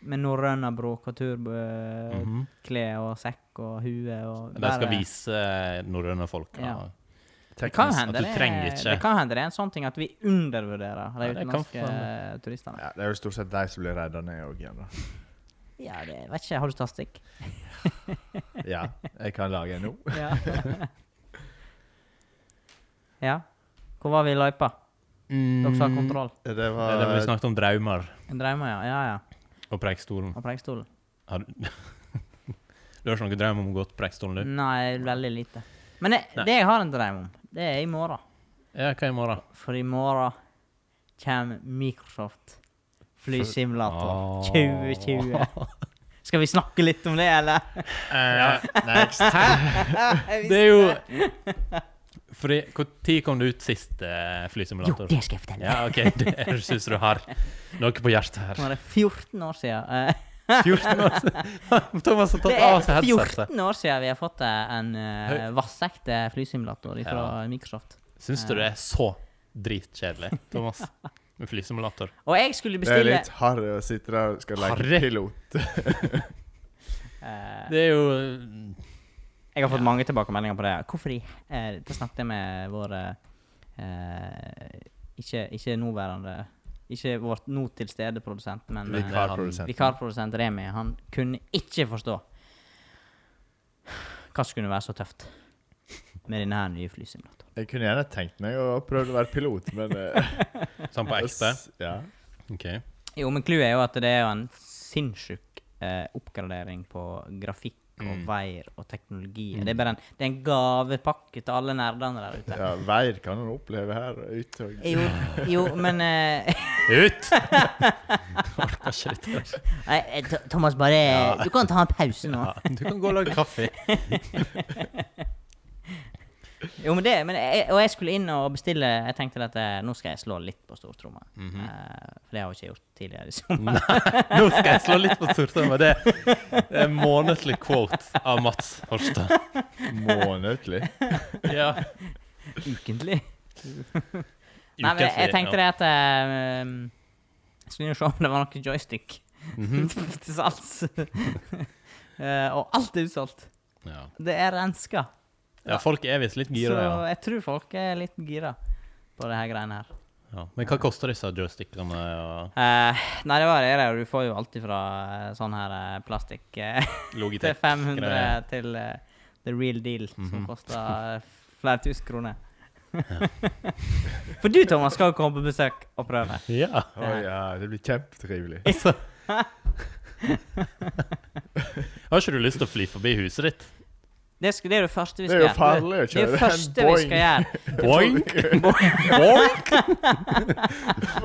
Speaker 3: med norrøna bråk og turboklær
Speaker 1: Mhm.
Speaker 3: og sekk og hue og
Speaker 1: De skal
Speaker 3: bare-
Speaker 1: vise eh, norrøne folk ja.
Speaker 3: Ja. Det
Speaker 1: teknisk
Speaker 3: kan hende
Speaker 1: at du
Speaker 3: det,
Speaker 1: trenger
Speaker 3: er-
Speaker 1: ikke.
Speaker 3: det kan hende det er en sånn ting at vi undervurderer de
Speaker 1: Ja, det kan
Speaker 3: utenlandske
Speaker 1: faen
Speaker 3: turistene.
Speaker 2: Ja, det er jo stort sett de som blir redda ned òg igjen, da.
Speaker 3: Ja, det vet ikke. Har du statistikk?
Speaker 2: Ja, jeg kan lage en nå.
Speaker 3: Ja. ja. Hvor var vi i løypa? Dere som har kontroll?
Speaker 2: Det
Speaker 1: Det er det vi
Speaker 2: var
Speaker 1: snakket om drømmer
Speaker 3: En drømmer, ja. Ja, ja.
Speaker 1: og Preikestolen.
Speaker 3: Og Preikestolen?
Speaker 1: Har du Du har ikke noen drøm om å gå til Preikestolen, du?
Speaker 3: Nei, veldig lite. Men det,
Speaker 1: Nei.
Speaker 3: det jeg har en drøm om, det er i morgen.
Speaker 1: Ja, hva i morgen?
Speaker 3: For i morgen kommer Microsoft flysimulator
Speaker 1: Åh.
Speaker 3: 2020. Skal vi snakke litt om det, eller? Eh,
Speaker 1: Ja.
Speaker 2: Next.
Speaker 1: Det er jo Fordi, Når kom det ut sist eh,
Speaker 3: Jo,
Speaker 1: flysimulator?
Speaker 3: det skal jeg fortelle.
Speaker 1: Ja, OK. Det høres ut som du har noe på hjertet her.
Speaker 3: Nå er det 14 år siden. eh,
Speaker 1: 14 år siden. Thomas har
Speaker 3: Det
Speaker 1: tatt av
Speaker 3: er
Speaker 1: seg headsetet.
Speaker 3: 14 år siden vi har fått eh, en uh, vassekte flysimulator fra
Speaker 1: Ja.
Speaker 3: Microsoft.
Speaker 1: Syns du det er så dritkjedelig, Thomas? Med flysimulator.
Speaker 3: Og jeg skulle
Speaker 2: Det er
Speaker 3: bestille
Speaker 2: litt harry å sitte der og skal leke
Speaker 1: Harry?
Speaker 2: pilot.
Speaker 3: eh,
Speaker 1: Det er jo
Speaker 3: Jeg har fått mange tilbakemeldinger på det. Hvorfor i eh, Dette snakket jeg med vår eh, ikke, ikke nåværende Ikke vår nå til stede produsent, men eh,
Speaker 2: Vikarprodusent.
Speaker 3: vikarprodusent Remi. Han kunne ikke forstå hva som kunne være så tøft med denne her nye flysimulatoren.
Speaker 2: Jeg kunne gjerne tenkt meg å prøve å være pilot, men eh,
Speaker 1: Sånn på ekte?
Speaker 2: Ja.
Speaker 1: Ok.
Speaker 3: Jo, men clouet er jo at det er jo en sinnssyk eh, oppgradering på grafikk og
Speaker 1: Mm.
Speaker 3: veier og teknologi.
Speaker 1: Mm.
Speaker 3: Det, er bare en, det er en gavepakke til alle nerdene der ute.
Speaker 2: ja Veier kan hun oppleve her ute. og-
Speaker 3: Jo, Eh, jo, men eh,
Speaker 1: Ut! Orker ikke dette. her.
Speaker 3: Nei, eh, Th- Thomas, bare eh,
Speaker 1: Ja.
Speaker 3: Du kan ta en pause nå.
Speaker 1: Ja, du kan gå og lage kaffe.
Speaker 3: Jo, men det, men jeg, og jeg skulle inn og bestille Jeg tenkte at eh, nå skal jeg slå litt på stortromma.
Speaker 1: Mm.
Speaker 3: Eh, for det har jeg ikke gjort tidligere i sommer.
Speaker 1: Nå skal jeg slå litt på stortromma. Det det er en månedlig quote av Mats Horstad.
Speaker 2: Månedlig.
Speaker 1: Ja.
Speaker 3: Ukentlig. Nei, men jeg, jeg tenkte det at eh, um, Jeg skulle jo se om det var noe joystick
Speaker 1: Mhm.
Speaker 3: til salgs. Eh, og alt er utsolgt.
Speaker 1: Ja.
Speaker 3: Det er renska.
Speaker 1: ja, folk er visst litt gira,
Speaker 3: så
Speaker 1: ja.
Speaker 3: jeg tror folk er litt gira på det her greiene her.
Speaker 1: ja. Men hva koster disse joystickene? og
Speaker 3: Eh, nei, det varierer jo. Du får jo alltid fra eh, sånn her eh, plastikk eh, til
Speaker 1: Logitech?
Speaker 3: 500
Speaker 1: greier.
Speaker 3: til eh, the real deal, som
Speaker 1: Mhm.
Speaker 3: koster eh, flere tusen kroner. For du, Thomas, skal jo komme på besøk og prøve.
Speaker 1: Ja.
Speaker 2: Å ja, det blir kjempetrivelig.
Speaker 1: Altså. Har ikke du lyst til å fly forbi huset ditt?
Speaker 3: Det, skal, det er det første vi
Speaker 2: Det er
Speaker 3: skal
Speaker 2: jo
Speaker 3: gjøre.
Speaker 2: farlig å
Speaker 3: Det er
Speaker 2: kjøre
Speaker 3: det
Speaker 2: en
Speaker 3: første vi skal
Speaker 2: Boeing.
Speaker 3: gjøre.
Speaker 1: Boing!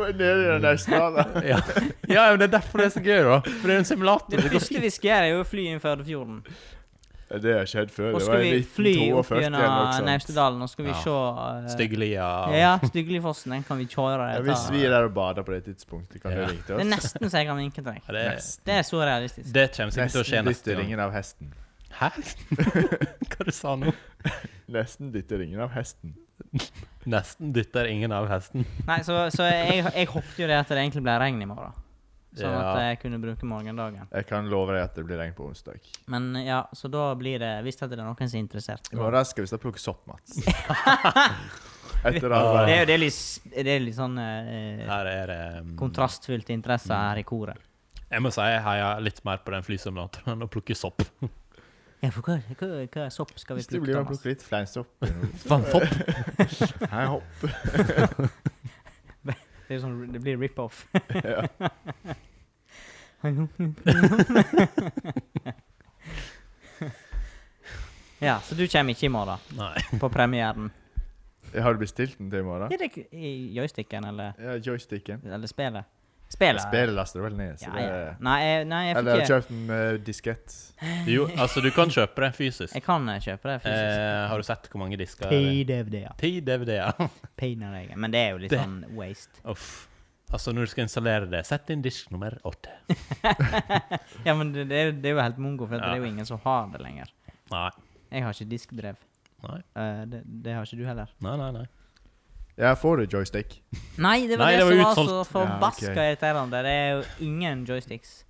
Speaker 2: Nede i den der stranda.
Speaker 1: Ja. ja, men det er derfor det er så gøy, da. For det er jo en simulator.
Speaker 3: Det
Speaker 1: Det går
Speaker 3: første vi skal gjøre, er jo å fly inn Førdefjorden.
Speaker 2: Det har skjedd før.
Speaker 3: Og
Speaker 2: Det
Speaker 3: skal
Speaker 2: var i
Speaker 3: vi fly opp
Speaker 2: 1942 eller noe
Speaker 3: gjennom
Speaker 2: sånt.
Speaker 3: Naustedalen, og skal vi
Speaker 1: Ja.
Speaker 3: se
Speaker 1: fint.
Speaker 3: eh,
Speaker 1: Styggelia og
Speaker 3: Ja, Styglifossen. Den kan vi kjøre.
Speaker 2: Ja,
Speaker 3: jeg
Speaker 2: hvis
Speaker 3: tar.
Speaker 2: vi er der og bader på det tidspunktet, kan
Speaker 1: Ja.
Speaker 2: du ringe til
Speaker 3: Det er
Speaker 2: oss.
Speaker 3: nesten så jeg kan vinke til deg.
Speaker 1: Ja, det,
Speaker 3: Det er så realistisk.
Speaker 1: det kommer sikkert til å skje
Speaker 2: Nesten
Speaker 1: neste
Speaker 2: dytte
Speaker 1: gang.
Speaker 2: ringen av hesten.
Speaker 1: Hæ? Hva du sa nå?
Speaker 2: Nesten dytte ringen av hesten.
Speaker 1: Nesten dytter ingen av hesten.
Speaker 3: Nei, så, så jeg, jeg håpte jo det at det egentlig ble regn i morgen. Sånn at
Speaker 1: Ja.
Speaker 3: jeg kunne bruke morgendagen.
Speaker 2: Jeg kan love deg at det blir regn på onsdag.
Speaker 3: Men ja, så da blir det Hvis at det er noen som er interessert.
Speaker 2: I
Speaker 3: da-
Speaker 2: morgen skal vi snart plukke sopp, Mats. Etter
Speaker 3: Det er
Speaker 2: arbeid.
Speaker 3: jo det er litt, s- det er litt sånn eh,
Speaker 1: Her er det um,
Speaker 3: kontrastfylt interesse her i koret.
Speaker 1: Jeg må si jeg heier litt mer på den flysimulatoren enn å plukke sopp.
Speaker 3: Ja, for hva, hva, hva sopp skal vi
Speaker 2: Mm. Hvis det
Speaker 3: plukke,
Speaker 2: blir å
Speaker 3: Thomas?
Speaker 2: plukke litt fleinsopp
Speaker 1: Vannsopp?
Speaker 2: Hei, hopp.
Speaker 3: Det, er jo sånn, det blir rip-off.
Speaker 2: Ja.
Speaker 3: ja, så du kommer ikke i morgen,
Speaker 1: Nei.
Speaker 3: på premieren.
Speaker 2: Har du bestilt den til i morgen?
Speaker 3: Er det k- i joysticken eller,
Speaker 2: Ja, joysticken.
Speaker 3: eller spelet? Spillet?
Speaker 2: Spillet laster du vel ned, så
Speaker 3: Ja,
Speaker 2: det
Speaker 3: ja. Nei, jeg, nei, jeg
Speaker 2: Eller har
Speaker 3: fikk
Speaker 2: du
Speaker 3: ikke
Speaker 2: kjøpt en eh, diskett?
Speaker 1: Jo, altså, du kan kjøpe det fysisk.
Speaker 3: Jeg kan eh, kjøpe det fysisk.
Speaker 1: Eh, har du sett hvor mange disker det er?
Speaker 3: P-DVD-er.
Speaker 1: Ti DVD-er.
Speaker 3: Painer jeg. Men det er jo litt
Speaker 1: Det-
Speaker 3: sånn waste.
Speaker 1: Uff. Altså, når du skal installere det, sett inn disk nummer åtte.
Speaker 3: Ja, men det, det, er, jo- det er jo helt mongo, for at
Speaker 1: Ja.
Speaker 3: det er jo ingen som har det lenger.
Speaker 1: Nei.
Speaker 3: Jeg har ikke diskdrev.
Speaker 1: Nei,
Speaker 3: Eh, det, det har ikke du heller.
Speaker 1: nei, nei. nei.
Speaker 2: Ja, får du joystick?
Speaker 3: Nei, det var
Speaker 1: Nei,
Speaker 3: det,
Speaker 1: det var
Speaker 3: som var så
Speaker 1: utsolgt.
Speaker 3: forbaska
Speaker 2: Ja, ok.
Speaker 3: irriterende. Det er jo ingen joysticks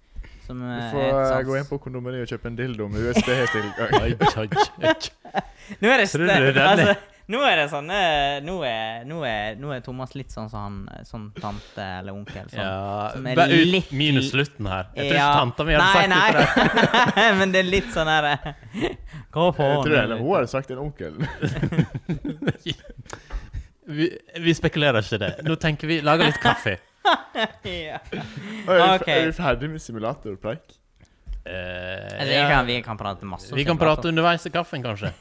Speaker 3: som
Speaker 2: Du
Speaker 3: eh,
Speaker 2: får
Speaker 3: er
Speaker 2: eh,
Speaker 3: til
Speaker 2: gå inn
Speaker 3: salgs.
Speaker 2: på kondomeriet og kjøpe en dildo med USB-tilgang.
Speaker 1: Oi, oi, oi.
Speaker 3: Nå er det
Speaker 1: Tror du det er
Speaker 3: sterkt.
Speaker 1: den?
Speaker 3: Altså, nå er det sånn eh, nå er, nå, er, nå er Thomas litt sånn som han eh, Sånn tante eller onkel. Sånn.
Speaker 1: Ja,
Speaker 3: Som er
Speaker 1: bare ut
Speaker 3: litt i-
Speaker 1: minus slutten her. Jeg tror
Speaker 3: Ja.
Speaker 1: ikke tanta mi hadde sagt det til deg.
Speaker 3: nei. Men det er litt sånn her eh, Gå på
Speaker 2: Jeg tror det,
Speaker 3: nå,
Speaker 2: eller
Speaker 3: litt.
Speaker 2: hun hadde sagt en onkel.
Speaker 1: Vi, vi spekulerer ikke det. Nå tenker vi lager litt kaffe.
Speaker 3: Ja.
Speaker 2: Oi, er vi-
Speaker 3: Ok.
Speaker 2: Er vi ferdig med simulatorpreik?
Speaker 1: Eh,
Speaker 3: Altså,
Speaker 1: ja.
Speaker 3: jeg kan, vi kan prate masse. om
Speaker 1: Vi kan
Speaker 3: simulator.
Speaker 1: prate underveis i kaffen, kanskje.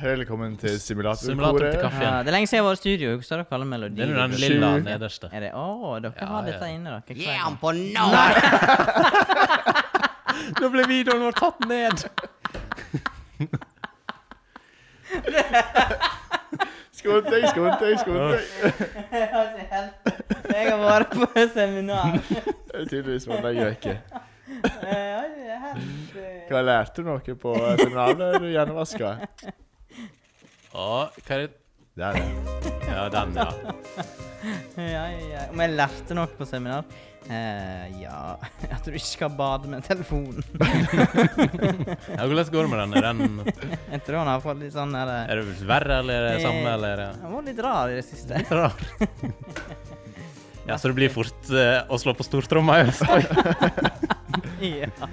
Speaker 2: Velkommen til
Speaker 1: Simulator til
Speaker 2: simulatorkoret.
Speaker 1: kaffe.
Speaker 3: ja, Det er lenge siden jeg har vært i studio. Husker dere alle
Speaker 1: Det er
Speaker 3: melodier?
Speaker 1: jo den
Speaker 2: Sju.
Speaker 1: lilla nederste.
Speaker 3: Er det Å, dere
Speaker 1: Ja,
Speaker 3: har
Speaker 1: ja.
Speaker 3: dette inne, dere.
Speaker 4: Gi
Speaker 3: Hver gang.
Speaker 4: ham på nå!
Speaker 1: Nå ble videoen vår tatt ned.
Speaker 2: Skåntøy, skåntøy, skåntøy.
Speaker 3: Jeg har ikke helt- Jeg har vært på seminar. Eh,
Speaker 2: Det er tydeligvis var det jeg ikke.
Speaker 3: Jeg har ikke helt eh,
Speaker 2: Hva lærte du noe på seminaret? Er du hjernevaska?
Speaker 1: Å, hva er det?
Speaker 2: Det er det.
Speaker 1: Ja, den, ja.
Speaker 3: ja, ja. Om jeg lærte noe på seminar? Eh, ja At du ikke skal bade med telefonen.
Speaker 1: ja. Hvordan går det med den? Er, den?
Speaker 3: Jeg tror han har fått litt sånn der eh,
Speaker 1: er det verre, eller er det samme, eller? er det-
Speaker 3: Han var litt rar i det siste.
Speaker 1: Litt rar. Ja, så det blir fort eh, å slå på stortromma i høst. Oi.
Speaker 3: ja.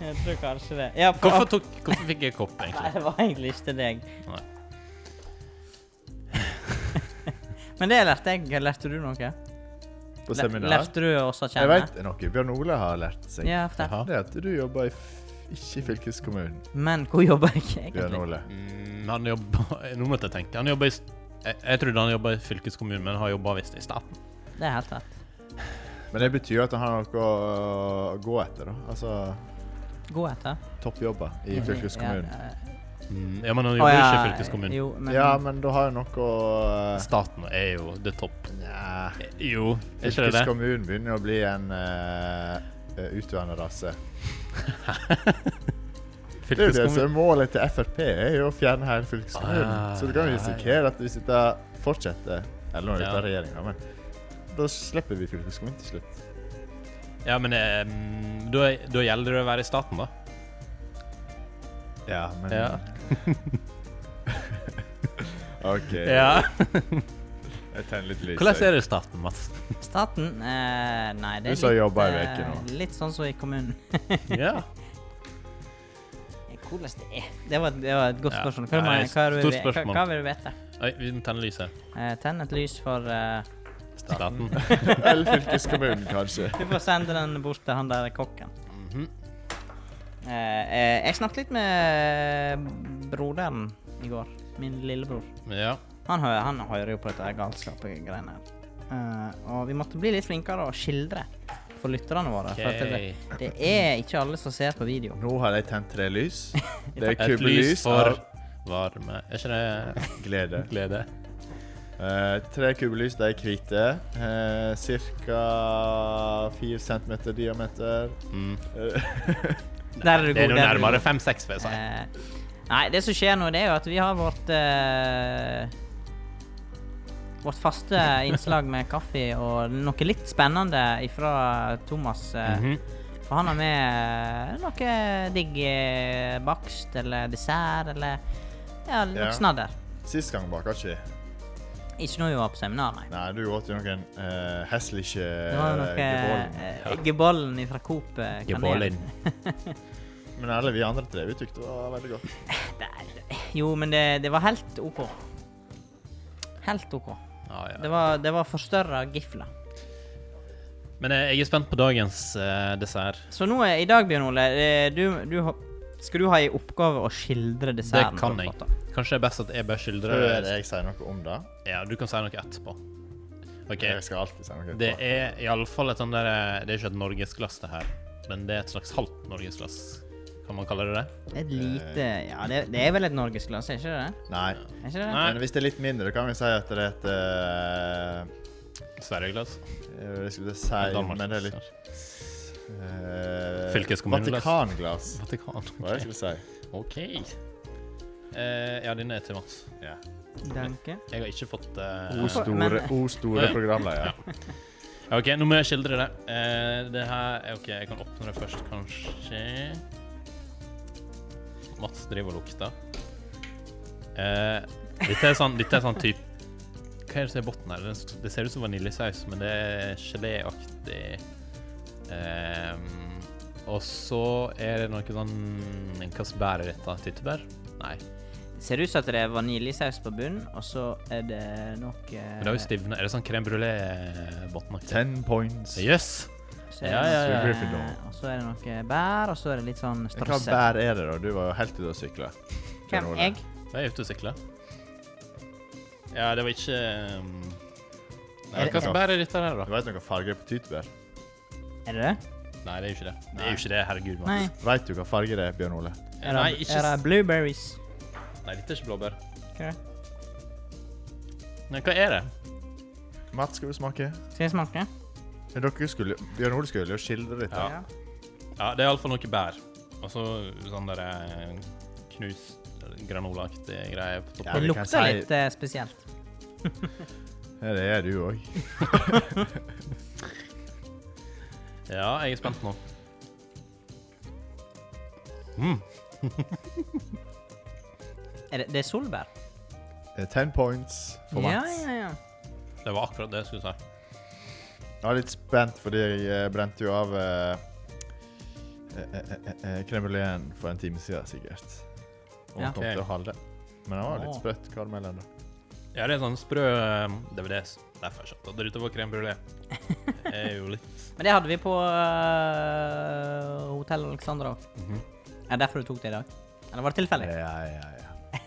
Speaker 3: Jeg tror kanskje det. Ja, på-
Speaker 1: Hvorfor, tok, hvorfor fikk jeg kopp,
Speaker 3: Nei,
Speaker 1: egentlig?
Speaker 3: det var egentlig ikke til deg.
Speaker 1: Nei.
Speaker 3: Men det lærte jeg. Lærte du noe?
Speaker 2: På
Speaker 3: Lær-
Speaker 2: seminar.
Speaker 3: Lærte du også å
Speaker 2: Jeg
Speaker 3: kjenne?
Speaker 2: vet noe Bjørn Ole har lært seg.
Speaker 3: Ja, fortell.
Speaker 1: Jaha.
Speaker 2: Det er at du jobber i f- ikke i fylkeskommunen,
Speaker 3: Men hvor jobber jeg
Speaker 2: Bjørn
Speaker 3: egentlig?
Speaker 2: Ole.
Speaker 1: Mm, han jobber Nå måtte jeg tenke. Han jobber i st- jeg, jeg trodde han jobba i fylkeskommunen, men har jobba visst i staten.
Speaker 3: Det er helt rett.
Speaker 2: Men det betyr jo at han har noe å gå etter, da. Altså
Speaker 3: Gå etter.
Speaker 2: toppjobber i fylkeskommunen.
Speaker 3: Mhm. Ja, eh,
Speaker 1: Mm, ja, men han
Speaker 3: å,
Speaker 1: jobber
Speaker 3: ja,
Speaker 1: ikke i fylkeskommunen.
Speaker 3: Jo, men
Speaker 2: Ja, men da har jeg noe å eh,
Speaker 1: Staten er jo det topp.
Speaker 2: Nja
Speaker 1: Jo, er ikke det det?
Speaker 2: Fylkeskommunen begynner å bli en uh, utvanna rase. Det er jo det som
Speaker 1: Fylkeskommunen
Speaker 2: er målet til Frp, er jo å fjerne hele fylkeskommunen.
Speaker 1: Ah,
Speaker 2: Så du kan jo
Speaker 1: ja,
Speaker 2: risikere at hvis dette fortsetter, eller nå er det
Speaker 1: Ja.
Speaker 2: ute av regjeringa, men da slipper vi fylkeskommunen til slutt.
Speaker 1: Ja, men eh, mm, da da gjelder det å være i staten, da.
Speaker 2: Ja, men
Speaker 1: Ja.
Speaker 2: OK.
Speaker 1: Ja.
Speaker 2: Jeg tenner litt lys.
Speaker 1: Hvordan er det i staten, Mats?
Speaker 3: staten eh, Nei, det
Speaker 2: Du
Speaker 3: er
Speaker 2: som
Speaker 3: litt,
Speaker 2: jobber i
Speaker 3: eh,
Speaker 2: veke nå.
Speaker 3: litt sånn som i kommunen.
Speaker 1: Ja.
Speaker 3: Hvordan det er? Det var, det var et godt
Speaker 1: Ja,
Speaker 3: spørsmål.
Speaker 1: det
Speaker 3: Hva,
Speaker 1: er
Speaker 3: må jeg-
Speaker 1: et
Speaker 3: hva, vil,
Speaker 1: stort
Speaker 3: vi- hva,
Speaker 1: spørsmål.
Speaker 3: hva vil du vite?
Speaker 1: Oi, vi må tenne lyset.
Speaker 3: Eh, tenn et lys for eh,
Speaker 1: Staten.
Speaker 2: Eller fylkeskommunen, kanskje.
Speaker 3: Du får sende den bort til han der kokken.
Speaker 1: Mhm.
Speaker 3: Eh, eh, jeg snakket litt med broderen i går. Min lillebror.
Speaker 1: Ja.
Speaker 3: Han, hø han hører jo på dette galskapgreiene. her. Eh, og vi måtte bli litt flinkere å skildre for lytterne våre. For at det, det er ikke alle som ser på video.
Speaker 2: Nå har de tent tre lys. Det er
Speaker 1: Et
Speaker 2: kubbelys
Speaker 1: lys for
Speaker 2: av
Speaker 1: varme Er ikke det
Speaker 2: glede.
Speaker 1: glede?
Speaker 2: Eh, tre kubbelys, de er hvite. Uh, Ca. 4 cm diameter.
Speaker 1: Mm.
Speaker 2: Eh,
Speaker 3: Der er du
Speaker 1: Det er
Speaker 3: god. der
Speaker 1: jo
Speaker 3: du
Speaker 1: nærmere
Speaker 3: god.
Speaker 1: 5-6, vil jeg si.
Speaker 3: Eh, nei, det som skjer nå, det er jo at vi har vårt eh, Vårt faste innslag med kaffe og noe litt spennende ifra Thomas. eh,
Speaker 1: Mhm.
Speaker 3: For han har med eh, noe digg eh, bakst eller dessert eller ja, noe
Speaker 2: Ja.
Speaker 3: snadder.
Speaker 2: Sist gang baka ikke.
Speaker 3: Ikke noe vi var på seminar, nei.
Speaker 2: Nei, du åt jo noen uh, heslige
Speaker 3: Det var jo noe
Speaker 2: gebollen.
Speaker 3: eh, Gebollen fra Coop eh, kanel.
Speaker 1: Gebollen.
Speaker 2: Men alle vi andre tre vi tykte det var veldig godt.
Speaker 3: Det- Jo, men det, det var helt OK. Helt OK.
Speaker 1: Ja, ja.
Speaker 3: Det var, det var forstørra gifler.
Speaker 1: Men eh, jeg er spent på dagens eh, dessert.
Speaker 3: Så nå er, i dag, Bjørn Ole, eh, du, du har- skal du ha i oppgave å skildre desserten.
Speaker 1: det kan
Speaker 3: på en
Speaker 1: jeg.
Speaker 3: måte.
Speaker 1: Kanskje det er best at jeg bare skildrer
Speaker 2: Før jeg sier noe om det
Speaker 1: Ja, du kan si noe etterpå. OK.
Speaker 2: Jeg skal alltid si noe.
Speaker 1: Det
Speaker 2: etterpå.
Speaker 1: er iallfall et sånn der eh, Det er ikke et norgesglass, det her. Men det er et slags halvt norgesglass. Kan man kalle det det?
Speaker 3: Et
Speaker 1: Eh.
Speaker 3: lite Ja, det, det er vel et norgesglass, er ikke det?
Speaker 2: Nei.
Speaker 3: Er ikke det?
Speaker 1: Nei.
Speaker 2: Men hvis det er litt mindre, kan vi si at det er et eh,
Speaker 1: Sverigeglass?
Speaker 2: eh, Det skulle jeg si,
Speaker 1: Danmarksglass,
Speaker 2: men det er litt
Speaker 1: kanskje.
Speaker 2: eh,
Speaker 1: Fylkeskommuneglass.
Speaker 2: Vatikanglass.
Speaker 1: Vatikan.
Speaker 2: Hva er det
Speaker 1: OK.
Speaker 2: jeg skulle si?
Speaker 1: Eh, ja, denne er til Mats.
Speaker 2: Ja.
Speaker 3: Danke.
Speaker 1: Jeg har ikke fått eh,
Speaker 2: O store,
Speaker 3: Men-
Speaker 2: o store
Speaker 1: Ja.
Speaker 2: programleder.
Speaker 1: Ja, OK, nå må jeg skildre det. Eh, det her OK, jeg kan åpne det først, kanskje. Mats driver og lukter. Eh, dette er sånn, dette er sånn typ Hva er det som er i bunnen her? Det- Det ser ut som vaniljesaus, men det er geléaktig. Ehm, og så er det noe sånn Hva bærer dette? Tyttebær? Nei.
Speaker 3: Det ser ut som at det er vaniljesaus på bunnen, og så er det eh, noe
Speaker 1: Men det har jo stivna. Er det sånn crème brulé-bunn?
Speaker 2: Ten points.
Speaker 1: Yes!
Speaker 3: så er det
Speaker 1: Ja, ja, ja.
Speaker 3: noe- Og så er det noe bær, og så er det litt sånn
Speaker 2: Hva
Speaker 3: strøssel.
Speaker 2: bær er det, da? Du var jo helt ute å sykle. Bjørn
Speaker 3: Hvem?
Speaker 2: Ole.
Speaker 3: Jeg?
Speaker 1: Jeg er ute og sykler. Ja, det var ikke um... Nei,
Speaker 3: Er det-
Speaker 1: Hva som bærer dette her,
Speaker 2: Du
Speaker 1: da?
Speaker 2: vet noe farge på tyttebær?
Speaker 3: Er det det?
Speaker 1: Nei, det er jo ikke det. Det er jo ikke det, herregud. Mats.
Speaker 3: Nei.
Speaker 2: Vet du hva farge det er, Bjørn Ole?
Speaker 3: Er
Speaker 1: Nei,
Speaker 3: det,
Speaker 1: ikke...
Speaker 3: er det
Speaker 1: s-
Speaker 3: blueberries?
Speaker 1: Nei, dette er ikke blåbær.
Speaker 3: Hva er det?
Speaker 1: Nei, hva er det?
Speaker 2: Mats, skal du smake?
Speaker 3: Skal jeg smake?
Speaker 2: Ja, Dere skulle, Bjørn Ole skulle jo skildre litt.
Speaker 1: Ja. Ja, det er iallfall noe bær. Og så sånn derre knust granolaaktig greie på toppen.
Speaker 2: Ja,
Speaker 3: Det
Speaker 2: vi kan
Speaker 3: lukter
Speaker 2: si-
Speaker 3: litt eh, spesielt.
Speaker 2: Ja, det er du òg.
Speaker 1: Ja, jeg er spent nå. Mm.
Speaker 3: Er det, det er solbær?
Speaker 2: Eh, Ten points for
Speaker 3: ja,
Speaker 2: Mats.
Speaker 3: ja, ja.
Speaker 1: Det var akkurat det jeg skulle si.
Speaker 2: Jeg var litt spent, fordi jeg eh, brente jo av eh, eh, eh, eh, eh, crème brulé-en for en time siden, sikkert. Og
Speaker 3: Ja.
Speaker 2: kom til
Speaker 1: Ok.
Speaker 2: å holde. Men den var litt
Speaker 3: Åh.
Speaker 2: sprøtt, karamellen. da.
Speaker 1: Ja, det er sånn sprø eh, DVDs. Derfor skjønte jeg at dette var crème brulé. Det er jo litt
Speaker 3: Men det hadde vi på øh, Hotell Alexandra òg.
Speaker 1: Mhm. Eh.
Speaker 3: Er det derfor du tok det i dag? Eller var det tilfeldig?
Speaker 2: Ja, ja, ja.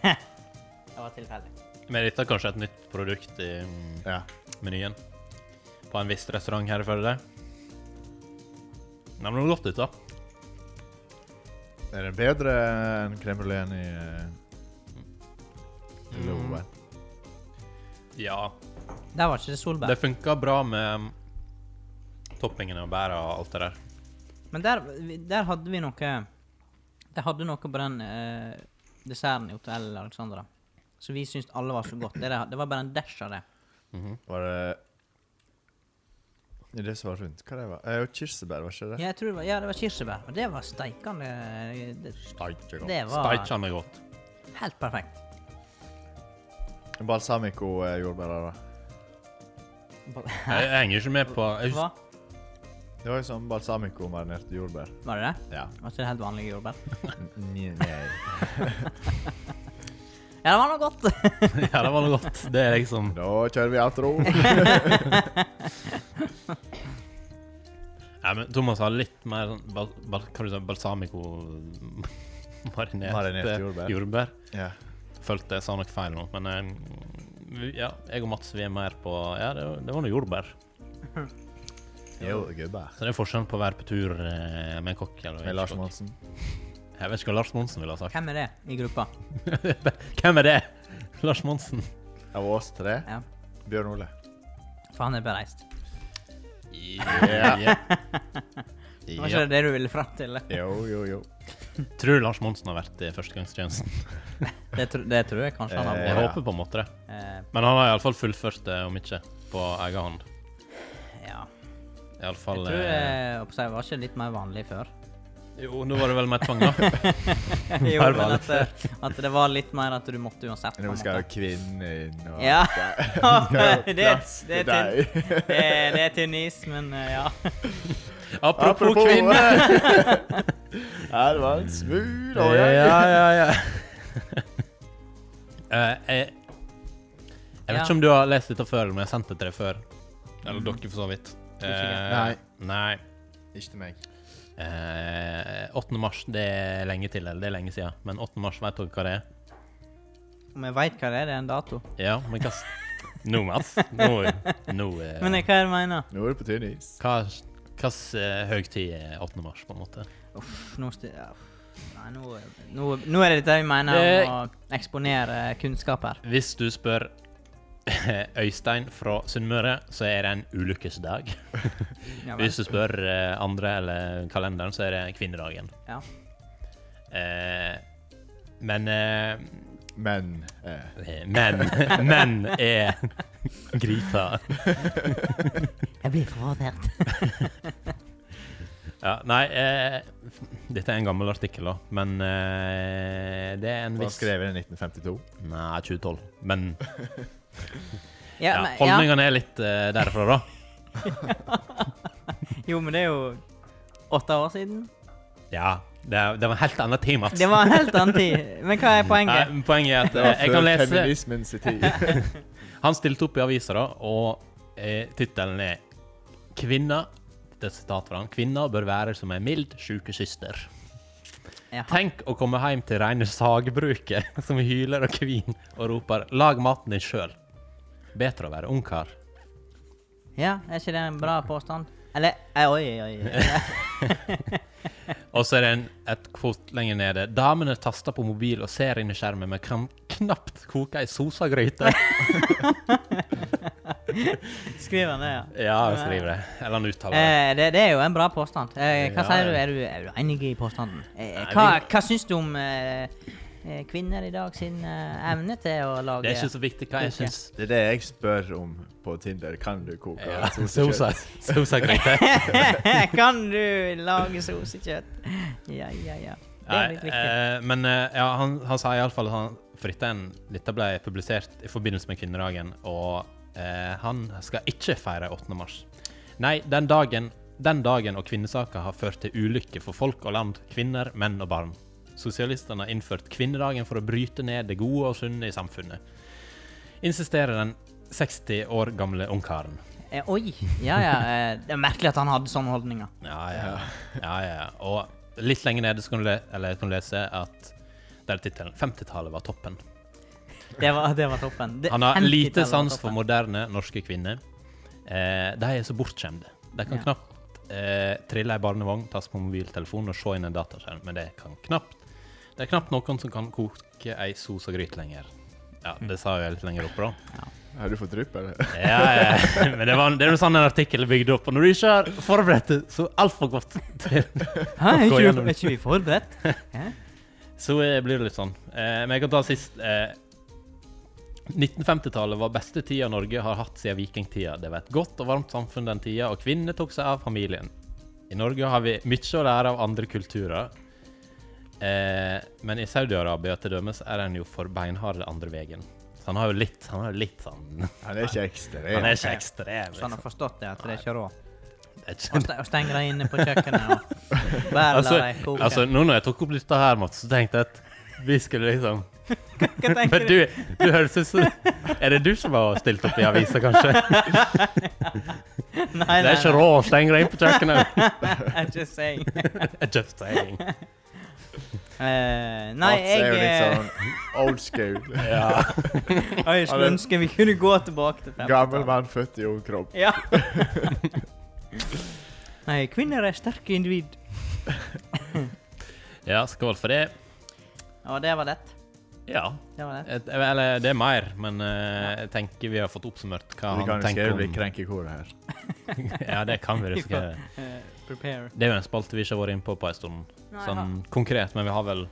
Speaker 3: Det var tilfeldig.
Speaker 1: Men dette er kanskje et nytt produkt i mm,
Speaker 2: ja.
Speaker 1: menyen på en viss restaurant her i Førde. Nei, men det var godt ut, da.
Speaker 2: Er den bedre enn crème brulé enn i uh,
Speaker 3: Mm.
Speaker 2: Loven?
Speaker 1: Ja.
Speaker 3: Der var ikke det solbær.
Speaker 1: Det funka bra med mm, toppingene og bæra og alt det der.
Speaker 3: Men der, vi- der hadde vi noe De hadde noe på den eh, desserten i Hotell Alexandra. Så vi syntes alle var så godt. Det, der- det var bare en dash av det.
Speaker 2: Var det I det som var rundt? Hva det var det? Eh, kirsebær, var ikke det?
Speaker 3: Ja, jeg tror det var, ja, det var kirsebær. Og det var steikende det,
Speaker 2: Steike godt.
Speaker 3: det var
Speaker 1: Steicha meg godt.
Speaker 3: helt perfekt.
Speaker 2: Balsamico eh, jordbærer. da.
Speaker 1: Jeg, jeg henger ikke med på jeg,
Speaker 3: Hva?
Speaker 1: hus-
Speaker 2: Det var jo sånn balsamico-marinerte jordbær.
Speaker 3: Var det det?
Speaker 2: Ja.
Speaker 3: Var ikke det helt vanlige jordbær?
Speaker 2: Nei. nei.
Speaker 3: Ja, det var noe godt!
Speaker 1: Ja, det var noe godt. Det er liksom
Speaker 2: Da kjører vi outro.
Speaker 1: Nei, men Thomas har litt mer sånn bal, bal, hva du sa, balsamico marinert, eh,
Speaker 2: Marinert jordbær.
Speaker 1: jordbær.
Speaker 2: ja.
Speaker 1: Følte jeg sa noe feil nå, men eh, vi- ja, jeg og Mats vi er mer på Ja, det, var- det var noe jordbær.
Speaker 2: Jo, gubber.
Speaker 1: Så det er forskjellen på å være på tur eh, med en kokk eller
Speaker 2: Med
Speaker 1: ikke
Speaker 2: Lars
Speaker 1: kokk.
Speaker 2: Monsen.
Speaker 1: Jeg vet ikke hva Lars Monsen ville ha sagt.
Speaker 3: Hvem er det i gruppa?
Speaker 1: Hvem er det? Lars Monsen.
Speaker 2: Av oss tre.
Speaker 3: Ja.
Speaker 2: Bjørn Ole.
Speaker 3: For han er bereist.
Speaker 1: Ja.
Speaker 3: Var ikke det det du ville fram til?
Speaker 2: Jo, jo, jo.
Speaker 1: Tror Lars Monsen har vært i førstegangstjenesten.
Speaker 3: Det, tr det tror jeg kanskje
Speaker 1: Jeg
Speaker 3: han hadde.
Speaker 2: Eh. Ja.
Speaker 1: håper på en måte det.
Speaker 3: Eh,
Speaker 1: Men han har iallfall fullført det, om ikke på egen hånd.
Speaker 3: ja. Jeg
Speaker 1: Iallfall
Speaker 3: tror eh, jeg, oppsett, jeg var ikke litt mer vanlig før.
Speaker 1: eh, Jo, nå var det vel mer tvang, da.
Speaker 3: Jo,
Speaker 1: Bare
Speaker 3: men
Speaker 1: vanlig
Speaker 3: at, eh, at det var litt mer at du måtte uansett. på
Speaker 2: Nå
Speaker 3: en
Speaker 2: skal
Speaker 3: måte.
Speaker 2: jo kvinnen inn og
Speaker 3: Ja. det, er-
Speaker 2: Plass
Speaker 3: det,
Speaker 2: til
Speaker 3: er tynn,
Speaker 2: deg.
Speaker 3: det, er- det er tynn is, men eh, ja.
Speaker 1: Apropos, kvinne!
Speaker 2: Ja, det var en smooth
Speaker 1: Ja,
Speaker 2: overgang.
Speaker 1: ja, ja. Eh, jeg jeg vet
Speaker 3: Ja.
Speaker 1: ikke om du har lest dette før, men jeg har sendt det til deg før. Eller dere, for så vidt.
Speaker 3: Tror ikke
Speaker 1: Eh,
Speaker 2: det.
Speaker 1: nei.
Speaker 2: Ikke til meg.
Speaker 1: Eh, 8. mars, det er lenge til, eller det er lenge siden. Men 8. mars, vet dere hva det er?
Speaker 3: Om jeg veit hva det er, det er en dato.
Speaker 1: Ja, men hva s- Nå, Mats. Nå, nå eh,
Speaker 3: Men eh, hva er det jeg mener?
Speaker 2: Nå er du på tynn is.
Speaker 1: Hva slags eh, høgtid er 8. mars, på en måte?
Speaker 3: Uff, nå sti- ja, uff. Nei, nå, nå, nå er det dette vi mener
Speaker 1: Det-
Speaker 3: om å eksponere kunnskap her.
Speaker 1: Hvis du spør Øystein fra Sunnmøre, så er det en ulykkesdag.
Speaker 3: Ja, vel.
Speaker 1: Hvis du spør eh, andre eller kalenderen, så er det kvinnedagen.
Speaker 3: Ja.
Speaker 1: Eh, men eh,
Speaker 2: Men eh,
Speaker 1: Menn menn er gripa.
Speaker 3: Jeg blir forvåtert.
Speaker 1: Ja, nei eh, Dette er en gammel artikkel, da. Men eh, det er en
Speaker 2: Hva
Speaker 1: viss
Speaker 2: skrev jeg i 1952?
Speaker 1: Eh, Nei, 2012. Men
Speaker 3: Ja,
Speaker 1: ja,
Speaker 3: men- ja.
Speaker 1: holdningene er litt eh, derfra, da.
Speaker 3: Jo, men det er jo åtte år siden.
Speaker 1: Ja. Det, det var en helt annen tid, Mats.
Speaker 3: Det var en helt annen tid. Men hva er poenget?
Speaker 1: Nei, poenget er at eh,
Speaker 2: Det var
Speaker 1: jeg kan
Speaker 2: før
Speaker 1: lese
Speaker 2: feminismens tid.
Speaker 1: Han stilte opp i aviser da, og eh, tittelen er Kvinner, det er et sitat fra han, kvinner bør være som en mild sjukesyster.
Speaker 3: Jaha.
Speaker 1: Tenk å komme hjem til rene sagbruket, som hyler og kvin og roper 'lag maten din sjøl'. Bedre å være ungkar.
Speaker 3: Ja, er ikke det en bra påstand? Eller eh, Oi, oi, oi.
Speaker 1: Og så er det en, et kvot lenger nede. Damene taster på mobil og ser inn i skjermen, men kan knapt koke ei sosa gryte.
Speaker 3: Skriv han det, ja.
Speaker 1: Ja, han skriver det. Eller han uttaler det.
Speaker 3: Eh, det, det er jo en bra påstand. Eh, hva
Speaker 1: Ja,
Speaker 3: sier
Speaker 1: ja.
Speaker 3: du? Er, du? er du enig i påstanden? Eh,
Speaker 1: Nei,
Speaker 3: hva,
Speaker 1: vi-
Speaker 3: hva syns du om eh, eh, kvinner i dag sin eh, evne til å lage
Speaker 1: Det er ikke så viktig hva jeg
Speaker 3: Ok.
Speaker 1: syns.
Speaker 2: Det er det jeg spør om på Tinder. Kan du koke
Speaker 1: Ja,
Speaker 2: sosekjøtt?
Speaker 1: sosa sosa gryte.
Speaker 3: Kan du lage sosekjøtt? Ja, ja, ja. Det er
Speaker 1: Nei,
Speaker 3: litt viktig.
Speaker 1: eh, men eh, ja, han, han sa iallfall at han For dette, er en- dette ble publisert i forbindelse med kvinnedagen, og eh, han skal ikke feire 8. mars. Nei, den dagen, den dagen og kvinnesaker har ført til ulykke for folk og land, kvinner, menn og barn. Sosialistene har innført kvinnedagen for å bryte ned det gode og sunne i samfunnet. insisterer den 60 år gamle ungkaren.
Speaker 3: Eh, oi! Ja, ja. Eh, det er merkelig at han hadde sånne holdninger.
Speaker 1: Ja, ja. ja, ja. Og litt lenger nede så kan du, le eller, kan du lese at der tittelen 50-tallet var toppen.
Speaker 3: Det var, det var toppen. Det,
Speaker 1: Han har
Speaker 3: 50-tallet
Speaker 1: lite
Speaker 3: var
Speaker 1: sans for
Speaker 3: toppen.
Speaker 1: moderne norske kvinner. Eh, de er så bortskjemte. De kan
Speaker 3: Ja.
Speaker 1: knapt eh, trille ei barnevogn, tas på mobiltelefon og se inn en dataskjerm, men det kan knapt. Det er knapt noen som kan koke ei sos og gryte lenger. Ja, det sa jeg litt lenger oppe, da.
Speaker 2: Har du fått drypp, eller?
Speaker 1: Ja, ja. Men det, var, det er jo sånn en artikkel er bygd opp. Og når du ikke har forberedt det så altfor godt, til,
Speaker 3: Hæ, er
Speaker 1: Gå
Speaker 3: ikke,
Speaker 1: gjennom
Speaker 3: vi- er ikke vi forberedt? Hæ?
Speaker 1: så eh, blir det litt sånn. Eh, men jeg kan ta sist. Eh, 1950-tallet var beste tida Norge har hatt siden vikingtida. Det var et godt og varmt samfunn den tida, og kvinnene tok seg av familien. I Norge har vi mye å lære av andre kulturer. Eh, men i Saudi-Arabia til dømes er en jo for beinhard den andre veien. Så han har jo litt, han har jo litt sånn
Speaker 2: Han er ikke ekstrem.
Speaker 1: Han er ikke ekstrem.
Speaker 3: Så han har
Speaker 1: Liksom.
Speaker 3: forstått det, Sånn at det er ikke råd.
Speaker 1: Det er ikke-
Speaker 3: Å ste- å stenge deg inne på kjøkkenet og bare la
Speaker 1: Altså,
Speaker 3: deg koke.
Speaker 1: altså, nå når jeg tok opp dette her, Mats, så tenkte jeg at vi skulle liksom
Speaker 3: Hva tenker
Speaker 1: Men du, du høres ut som Er det du som har stilt opp i avisa, kanskje?
Speaker 3: Nei,
Speaker 1: Det er ikke råd å stenge deg inn på kjøkkenet.
Speaker 3: I'm just saying.
Speaker 1: Just saying.
Speaker 3: Eh, nei,
Speaker 2: Mats
Speaker 3: jeg
Speaker 2: er jo
Speaker 3: eh,
Speaker 2: litt sånn old school.
Speaker 1: Ja.
Speaker 3: jeg skulle ønske vi kunne gå tilbake til 50-tallet.
Speaker 2: Gammel mann født i ung kropp.
Speaker 3: Ja. Nei, kvinner er sterke individ.
Speaker 1: ja, skål for det.
Speaker 3: Og det var lett.
Speaker 1: Ja.
Speaker 3: Det var lett.
Speaker 1: Et, eller det er mer, men eh, jeg tenker vi har fått oppsummert hva
Speaker 2: Vi
Speaker 1: han
Speaker 2: kan
Speaker 1: tenker
Speaker 2: risikere å bli
Speaker 1: om
Speaker 2: krenkekoret her.
Speaker 1: Ja, det kan vi risikere.
Speaker 3: Eh, prepare.
Speaker 1: Det er jo en spalte vi ikke har vært inne på på en stund, sånn konkret, men vi har vel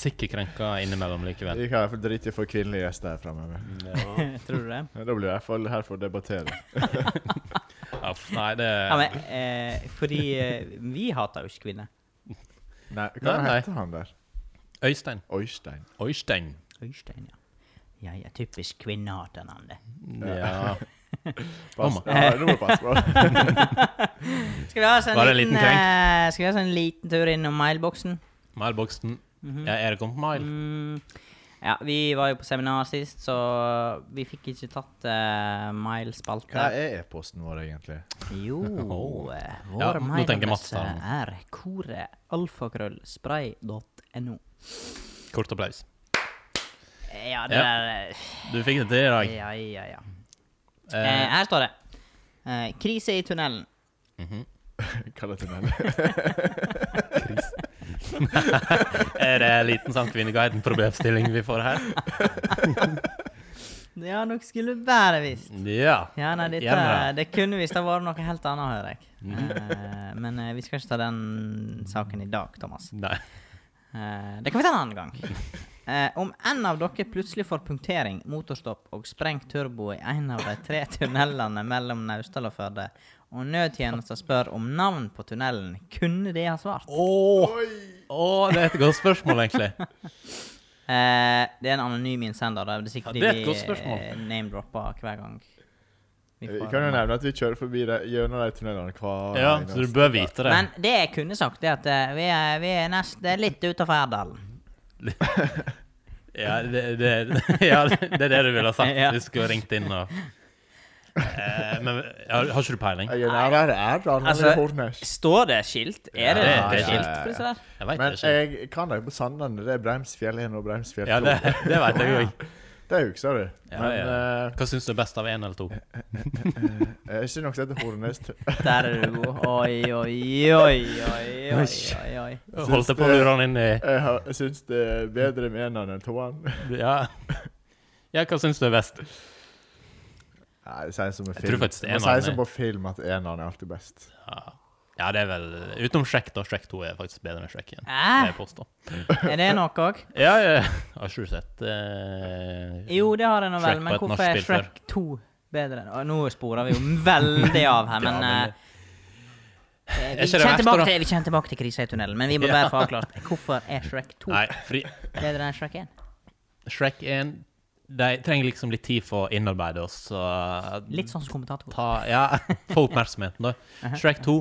Speaker 1: sikkert krenka innimellom likevel.
Speaker 2: Vi kan i hvert fall drite i å få kvinnelige gjester her framover.
Speaker 3: Tror du det?
Speaker 2: Da blir vi i hvert fall her for å debattere.
Speaker 1: Ja, f- nei, det
Speaker 3: Ja, men, eh, fordi eh, vi hater jo ikke kvinner.
Speaker 2: Nei, hva
Speaker 1: Nei, nei.
Speaker 2: heter han der?
Speaker 1: Øystein.
Speaker 2: Øystein.
Speaker 1: Øystein.
Speaker 3: Øystein, ja. Ja, ja, typisk kvinnehaternavnet.
Speaker 1: Ja.
Speaker 2: Pass.
Speaker 1: Mamma.
Speaker 2: Ja, nå må du passe på.
Speaker 3: Skal vi ha oss en
Speaker 1: Var det en
Speaker 3: liten,
Speaker 1: liten krenk?
Speaker 3: eh, Skal vi ha oss en liten tur innom mailboksen?
Speaker 1: Mailboksen.
Speaker 3: Mhm.
Speaker 1: Ja, er det kommet mail?
Speaker 3: Mm, ja, vi var jo på seminar sist, så vi fikk ikke tatt uh,
Speaker 2: Hva
Speaker 3: mailspalte.
Speaker 2: er e-posten vår, egentlig?
Speaker 3: Jo,
Speaker 1: Oh.
Speaker 3: eh,
Speaker 1: Ja,
Speaker 3: vår
Speaker 1: nå tenker Mats
Speaker 3: mailadresse
Speaker 1: da.
Speaker 3: er korealfakrøllspray.no.
Speaker 1: Kort applaus.
Speaker 3: Ja, det
Speaker 1: Ja.
Speaker 3: der
Speaker 1: Du fikk det til i dag.
Speaker 3: eh, Ja, ja, ja. Eh,
Speaker 1: Eh,
Speaker 3: her står det. Eh, krise i tunnelen.
Speaker 1: mhm.
Speaker 2: Kall det tunnel.
Speaker 1: Er det en liten sånn Kvinneguiden-problemstilling vi får her?
Speaker 3: Ja, dere skulle bare visst.
Speaker 1: Ja.
Speaker 3: Ja, nei, dette,
Speaker 1: Gjerne.
Speaker 3: det kunne visst ha vært noe helt annet, hører jeg.
Speaker 1: Mhm.
Speaker 3: Eh, men eh, vi skal ikke ta den saken i dag, Thomas.
Speaker 1: Nei.
Speaker 3: Eh, det kan vi ta en annen gang. Eh, om en av dere plutselig får punktering, motorstopp og sprengt turbo i en av de tre tunnelene mellom Naustdal og Førde, og nødtjenesten spør om navn på tunnelen, kunne de ha svart?
Speaker 1: Åh, åh, det er et godt spørsmål, egentlig.
Speaker 3: Eh, det er en anonym innsender. da. Det er sikkert
Speaker 1: Ja, det er et
Speaker 3: de,
Speaker 1: godt spørsmål.
Speaker 3: eh, name-dropper hver gang. vi
Speaker 2: Vi
Speaker 3: får-
Speaker 2: Eh, kan jo nevne at vi kjører forbi de, gjennom de tunnelene hver
Speaker 1: Ja, Så du bør vite det.
Speaker 3: Men det jeg kunne sagt, er at eh, vi er, vi er nest, det er litt utafor Erdalen.
Speaker 1: Ja, det, det, ja, det er det du ville ha sagt.
Speaker 3: Ja.
Speaker 1: Du skulle ha ringt inn og eh, Men ja, har ikke du peiling?
Speaker 2: Jeg er nærmere Erdan enn
Speaker 3: Altså,
Speaker 2: i Hornnes.
Speaker 3: Står det skilt? Er det,
Speaker 1: Ja,
Speaker 3: sånn?
Speaker 1: det er
Speaker 3: et skilt?
Speaker 2: skilt.
Speaker 3: på disse der?
Speaker 1: Jeg veit
Speaker 2: Men
Speaker 1: ikke.
Speaker 2: jeg kan det på Sandane. Det er Breimsfjell 1 og Breimsfjell 2.
Speaker 1: Ja, det, det veit jeg òg.
Speaker 2: Det hukser du.
Speaker 1: Ja,
Speaker 2: Men
Speaker 1: ja.
Speaker 2: eh,
Speaker 1: Hva syns du er best av én eller to?
Speaker 2: jeg har ikke nok sett Hornnes.
Speaker 3: Der er du god. Oi, oi, oi, oi, oi, oi, oi.
Speaker 1: Holdt jeg på å lure han inn i
Speaker 2: Jeg, har- jeg syns det er bedre med eneren enn toeren.
Speaker 1: Ja, ja hva syns du er best?
Speaker 2: Nei, det sier som en
Speaker 1: Jeg
Speaker 2: film.
Speaker 1: tror faktisk
Speaker 2: Man
Speaker 1: eneren
Speaker 2: sier som
Speaker 1: er-
Speaker 2: på film at eneren er alltid best.
Speaker 1: Ja. ja, det er vel Utenom Shrek, da. Shrek 2 er faktisk bedre enn Shrek 1.
Speaker 3: Æ?
Speaker 1: Jeg påstår.
Speaker 3: Er det nok òg?
Speaker 1: Ja, ja. ja. Har ikke du sett eh,
Speaker 3: Jo, det har jeg nå
Speaker 1: Shrek
Speaker 3: vel,
Speaker 1: på
Speaker 3: men
Speaker 1: et norsk
Speaker 3: hvorfor er
Speaker 1: spill før.
Speaker 3: Shrek 2 bedre? Å, Nå sporer vi jo veldig av her, men,
Speaker 1: Ja, men-
Speaker 3: eh,
Speaker 1: Er
Speaker 3: vi,
Speaker 1: ikke det verste,
Speaker 3: kommer
Speaker 1: da?
Speaker 3: tilbake til, vi kommer tilbake til krisa i tunnelen, men vi må
Speaker 1: Ja.
Speaker 3: bare få avklart hvorfor er Shrek 2
Speaker 1: Nei, fordi
Speaker 3: bedre enn Shrek 1?
Speaker 1: Shrek 1 De trenger liksom litt tid for å innarbeide oss. Så eh,
Speaker 3: Litt sånn som kommentator.
Speaker 1: ta, Ja, få oppmerksomheten, da. Shrek 2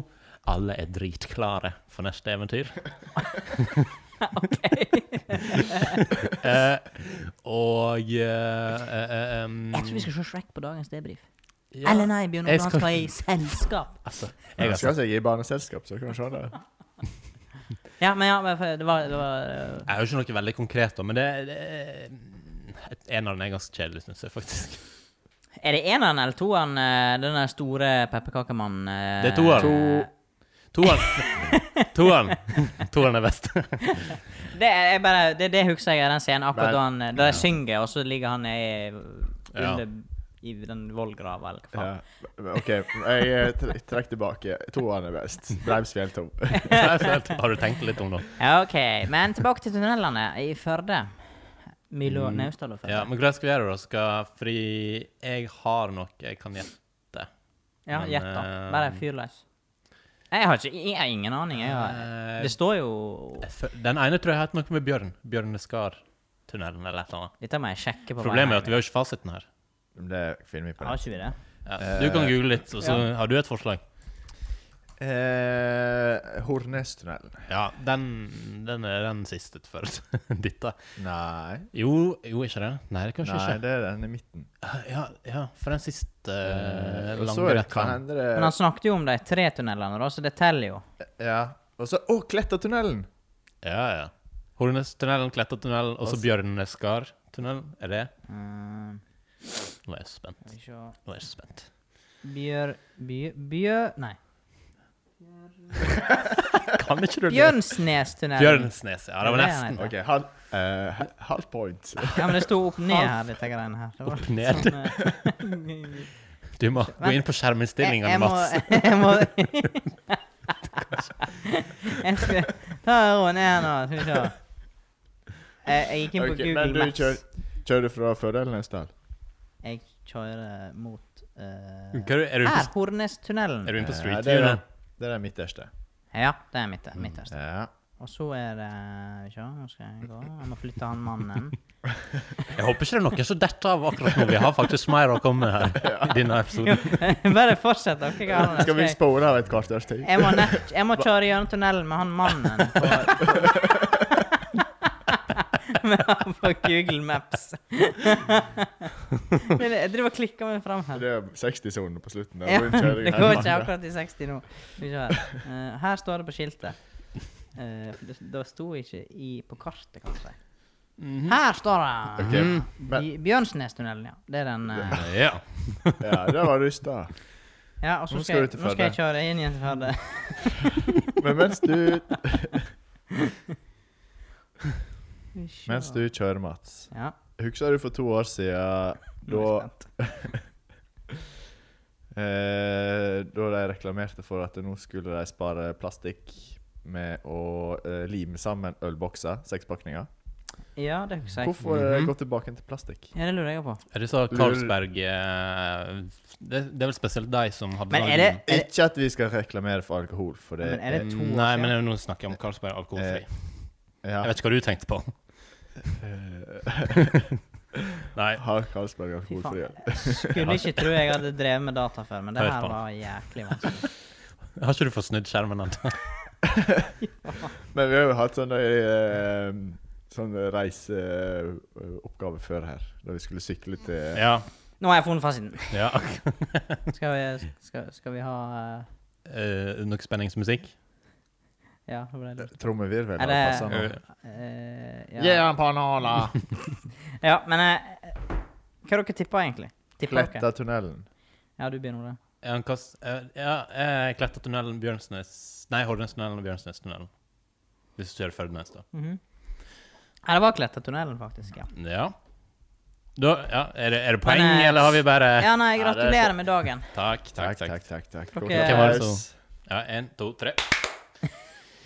Speaker 1: Alle er dritklare for neste eventyr. Eh, og eh, eh, em,
Speaker 3: Jeg tror vi skal se Shrek på dagens debrief.
Speaker 1: ja,
Speaker 3: Eller nei, Bjørn
Speaker 1: Jeg
Speaker 3: Ole, han
Speaker 1: skal-
Speaker 3: skal i selskap.
Speaker 1: Altså, jeg
Speaker 2: Jeg
Speaker 1: har sett,
Speaker 2: skal seg i barneselskap, så kan du se det.
Speaker 3: Ja, men ja, men for det var, det var eh,
Speaker 1: jeg har jo ikke noe veldig konkret, om, men det, det er- en av dem er ganske kjedelig, syns jeg faktisk.
Speaker 3: Er det eneren eller toeren, eh, den der store pepperkakemannen? eh,
Speaker 1: Det er toeren. Toeren Toeren Toeren er best.
Speaker 3: Det er jeg bare, det, det husker jeg er den scenen akkurat
Speaker 2: Men-
Speaker 3: da han eh, Da de synger, og så ligger han nede i
Speaker 1: Ja.
Speaker 3: under i den vollgrava, eller hva faen.
Speaker 2: Ja. OK, jeg eh, tre- trekk tilbake. Toeren er best. Breims fjelltopp.
Speaker 1: Det er så helt- Har du tenkt litt om det?
Speaker 3: Ja. OK. Men tilbake til tunnelene i Førde. Milo Naustdal og Førde.
Speaker 1: Mm. Ja, men hvordan skal vi gjøre det? da? Skal Fordi jeg har noe jeg kan gjette.
Speaker 3: Ja,
Speaker 1: Men,
Speaker 3: gjett da.
Speaker 1: eh,
Speaker 3: Bare fyr løs. Jeg har ikke jeg har ingen aning. Jeg har,
Speaker 1: Eh,
Speaker 3: det står jo
Speaker 1: Den ene tror jeg har hatt noe med bjørn. Bjørneskar-tunnelen eller et eller annet.
Speaker 3: Dette må jeg sjekke på.
Speaker 1: Problemet er at vi har ikke fasiten her.
Speaker 2: Det finner vi på.
Speaker 3: Har
Speaker 2: nett.
Speaker 3: ikke vi det?
Speaker 1: Ja, du kan google litt, og så har du et forslag.
Speaker 2: Eh, Hornestunnelen.
Speaker 1: Ja, den, den er den siste før dette.
Speaker 2: Nei.
Speaker 1: Jo, jo, ikke det? Nei, det er kanskje
Speaker 2: Nei, det er den i midten.
Speaker 1: ikke. Ja, ja, for den siste
Speaker 2: Eh,
Speaker 1: eh,
Speaker 2: og så
Speaker 1: lange
Speaker 2: er det-
Speaker 1: rett
Speaker 2: kan
Speaker 1: fram.
Speaker 2: hende
Speaker 3: Men han
Speaker 2: det
Speaker 3: snakket jo om de tre tunnelene, da, så det teller jo.
Speaker 2: Ja. Og så Å, Klettatunnelen!
Speaker 1: Ja, ja. Hornestunnelen, Klettatunnelen, og så
Speaker 2: Hva s-
Speaker 1: Bjørneskar-tunnelen. Er det?
Speaker 3: Uh,
Speaker 1: Nå er jeg så spent. Nå er jeg så spent.
Speaker 3: Bjør... Bjør... bjør nei.
Speaker 1: Kan ikke du det?
Speaker 3: Bjørnsnestunnelen.
Speaker 1: Bjørnsnes, ja. Det var
Speaker 3: Det er
Speaker 1: nesten.
Speaker 3: det.
Speaker 2: OK, halv eh, he- halv point.
Speaker 3: Ja, men det sto opp ned her, dette greiene her. Det var
Speaker 1: Opp ned.
Speaker 3: sånn, eh,
Speaker 1: Du må gå inn på skjerminnstillingene, Mats.
Speaker 3: Jeg, jeg må, jeg må Jeg skal ta roen ned nå, skal vi se. Jeg, jeg gikk inn på
Speaker 2: Ok, men du
Speaker 3: Google Maps.
Speaker 2: kjør- Kjører du fra Førde eller Naustdal?
Speaker 3: Jeg kjører mot uh,
Speaker 1: Hva Er du- er du inne
Speaker 3: Her!
Speaker 1: på, er du
Speaker 3: Hornestunnelen.
Speaker 1: inne på
Speaker 2: Eh,
Speaker 1: Street
Speaker 2: det er
Speaker 1: View nå?
Speaker 2: den- Det er den midterste.
Speaker 3: Ja, det er midte- midterst.
Speaker 2: Ja.
Speaker 3: Og så er det Skal vi se, nå skal jeg gå. Jeg må flytte han mannen.
Speaker 1: Jeg håper ikke det er noen som detter av akkurat nå. Vi har faktisk mer å komme med her. i denne episoden.
Speaker 3: Bare fortsett, dere. Skal,
Speaker 2: Skal vi spore av et kvarters tid?
Speaker 3: Jeg må, nett, jeg må kjøre gjennom tunnelen med han mannen på, med han på Google Maps. Men jeg driver og klikker meg fram her.
Speaker 2: Det er 60-sonen på slutten.
Speaker 3: Ja,
Speaker 2: Der. hvor kjører
Speaker 3: det
Speaker 2: jeg
Speaker 3: går
Speaker 2: her.
Speaker 3: ikke akkurat i 60 nå. Skal vi se Her Eh, Her står det på skiltet. Eh, for det, det sto ikke i, på kartet, kanskje. Her står det!
Speaker 2: Mm. Ok,
Speaker 3: Mm.
Speaker 2: men-
Speaker 3: Bj- Bjørnsnestunnelen, ja. Det er den eh,
Speaker 1: Ja.
Speaker 2: Ja, det var rusta.
Speaker 3: Ja, og så
Speaker 2: Nå skal
Speaker 3: skal, jeg,
Speaker 2: du til
Speaker 3: nå skal jeg kjøre inn igjen til Førde.
Speaker 2: Men mens du,
Speaker 3: Skal vi se.
Speaker 2: mens du kjører, Mats
Speaker 3: Ja,
Speaker 2: Husker du for to år siden
Speaker 3: nå er jeg
Speaker 2: da
Speaker 3: spent.
Speaker 2: eh, Da de reklamerte for at nå skulle de spare plastikk med å eh, lime sammen ølbokser, seks pakninger?
Speaker 3: Ja, det husker jeg.
Speaker 2: Hvorfor eh, gå tilbake til plastikk?
Speaker 3: Ja, det lurer jeg på.
Speaker 1: Er det så
Speaker 2: Lurer-
Speaker 1: Carlsberg eh, det, det er vel spesielt de som hadde
Speaker 3: Men
Speaker 1: sånn-
Speaker 3: er det-
Speaker 2: Ikke at vi skal reklamere for alkohol, for det
Speaker 3: Men er det- to år
Speaker 1: Nei,
Speaker 3: siden?
Speaker 1: men nå snakker jeg om Carlsberg alkoholfri.
Speaker 2: ja.
Speaker 1: Jeg vet ikke hva du tenkte på. Nei.
Speaker 2: Har Karlsberg
Speaker 3: Fy
Speaker 2: alkoholfri
Speaker 3: faen.
Speaker 2: øl?
Speaker 3: Skulle ikke tro jeg hadde drevet med data før, men det
Speaker 1: Hør
Speaker 3: her
Speaker 1: på han.
Speaker 3: var jæklig vanskelig.
Speaker 1: Har ikke du fått snudd skjermen ennå?
Speaker 2: Men vi har jo hatt sånne, eh, sånne reiseoppgave før her, da vi skulle sykle til
Speaker 1: Ja.
Speaker 3: Nå har jeg funnet fasiten.
Speaker 1: ja.
Speaker 3: Skal vi, skal, skal vi ha eh,
Speaker 1: Eh, nok spenningsmusikk?
Speaker 3: Ja, hva ble det?
Speaker 2: trommevirvel.
Speaker 3: Er
Speaker 2: Er
Speaker 3: det-
Speaker 1: Eh,
Speaker 3: Eh,
Speaker 2: Gi
Speaker 3: ja.
Speaker 2: han banana!
Speaker 3: ja, men eh, Hva dere tippa egentlig? Tipper dere?
Speaker 2: Klettatunnelen.
Speaker 3: Ja, du begynner med det.
Speaker 1: er han kast, eh, ja, eh, Klettatunnelen, Bjørnsnes Nei, Hordalandstunnelen og Bjørnsnestunnelen. Hvis du kjører Førdenes, da.
Speaker 3: Mhm. Ja, det var Klettatunnelen, faktisk. Ja.
Speaker 1: Ja. da ja, er, det, er det poeng,
Speaker 3: Men, eh,
Speaker 1: eller har vi bare
Speaker 3: ja, nei,
Speaker 2: Ja, det er
Speaker 3: gratulerer med dagen.
Speaker 1: Takk, takk,
Speaker 2: Takk,
Speaker 1: takk.
Speaker 2: takk, takk. takk. Kokos.
Speaker 3: Dere- Hvem
Speaker 1: var det som- Ja, Én, to, tre.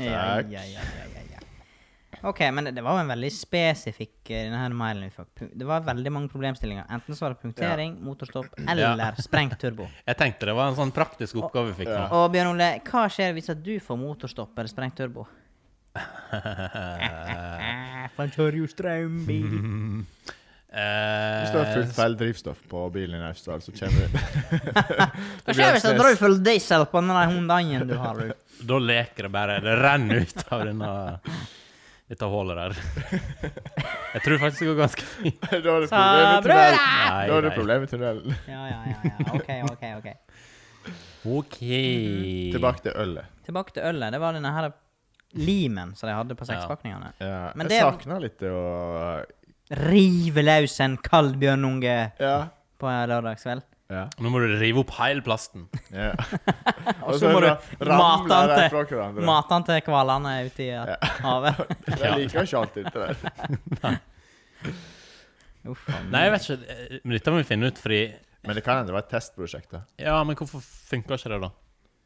Speaker 3: Ja,
Speaker 2: Takk.
Speaker 3: ja, ja, ja, ja, ja. OK, men det- det var jo en veldig spesifikk eh, denne her mailen vi fikk. Pun- Det var veldig mange problemstillinger. Enten så var det punktering, motorstopp eller
Speaker 1: Ja.
Speaker 3: sprengt turbo.
Speaker 1: Jeg tenkte det var en sånn praktisk oppgave vi fikk nå.
Speaker 3: Og Bjørn Ole, hva skjer hvis at du får motorstopp eller sprengt turbo? Eh, For han kjører jo strømbil.
Speaker 1: Eh,
Speaker 2: Hvis du har fullt feil drivstoff på bilen i Naustdal, så kommer du
Speaker 3: Hva skjer hvis du drar full diesel på den der Hyundaien du har? du?
Speaker 1: Da leker det bare. Det renner ut av denne dette hullet der. Jeg tror faktisk det går ganske fint.
Speaker 2: da er det
Speaker 3: Sa
Speaker 2: problemet
Speaker 1: Nei,
Speaker 2: i tunnelen.
Speaker 3: brødre!
Speaker 2: Da er det
Speaker 1: nei.
Speaker 2: problemet i tunnelen.
Speaker 3: Ja, ja, ja. ja. OK, OK. ok.
Speaker 1: OK.
Speaker 2: Mhm. Tilbake til ølet.
Speaker 3: Tilbake til ølet. Det var denne her limen som de hadde på sekspakningene.
Speaker 2: Ja,
Speaker 3: Men
Speaker 2: jeg
Speaker 3: det-
Speaker 2: savner litt det å
Speaker 3: Rive løs en kald bjørnunge
Speaker 2: Ja.
Speaker 3: på en lørdagskveld.
Speaker 2: ja.
Speaker 1: Nå må du rive opp hele plasten.
Speaker 2: ja.
Speaker 3: Og så må du mate han
Speaker 2: ramler de
Speaker 3: til,
Speaker 2: fra hverandre.
Speaker 3: mate han til hvalene ute i havet.
Speaker 2: Jeg liker ikke alltid det der.
Speaker 3: Uff, faen.
Speaker 1: Nei, jeg vet ikke. eh, Men dette må vi finne ut, fordi
Speaker 2: Men det kan hende det var et testprosjekt. da.
Speaker 1: Ja, men hvorfor funker ikke det, da?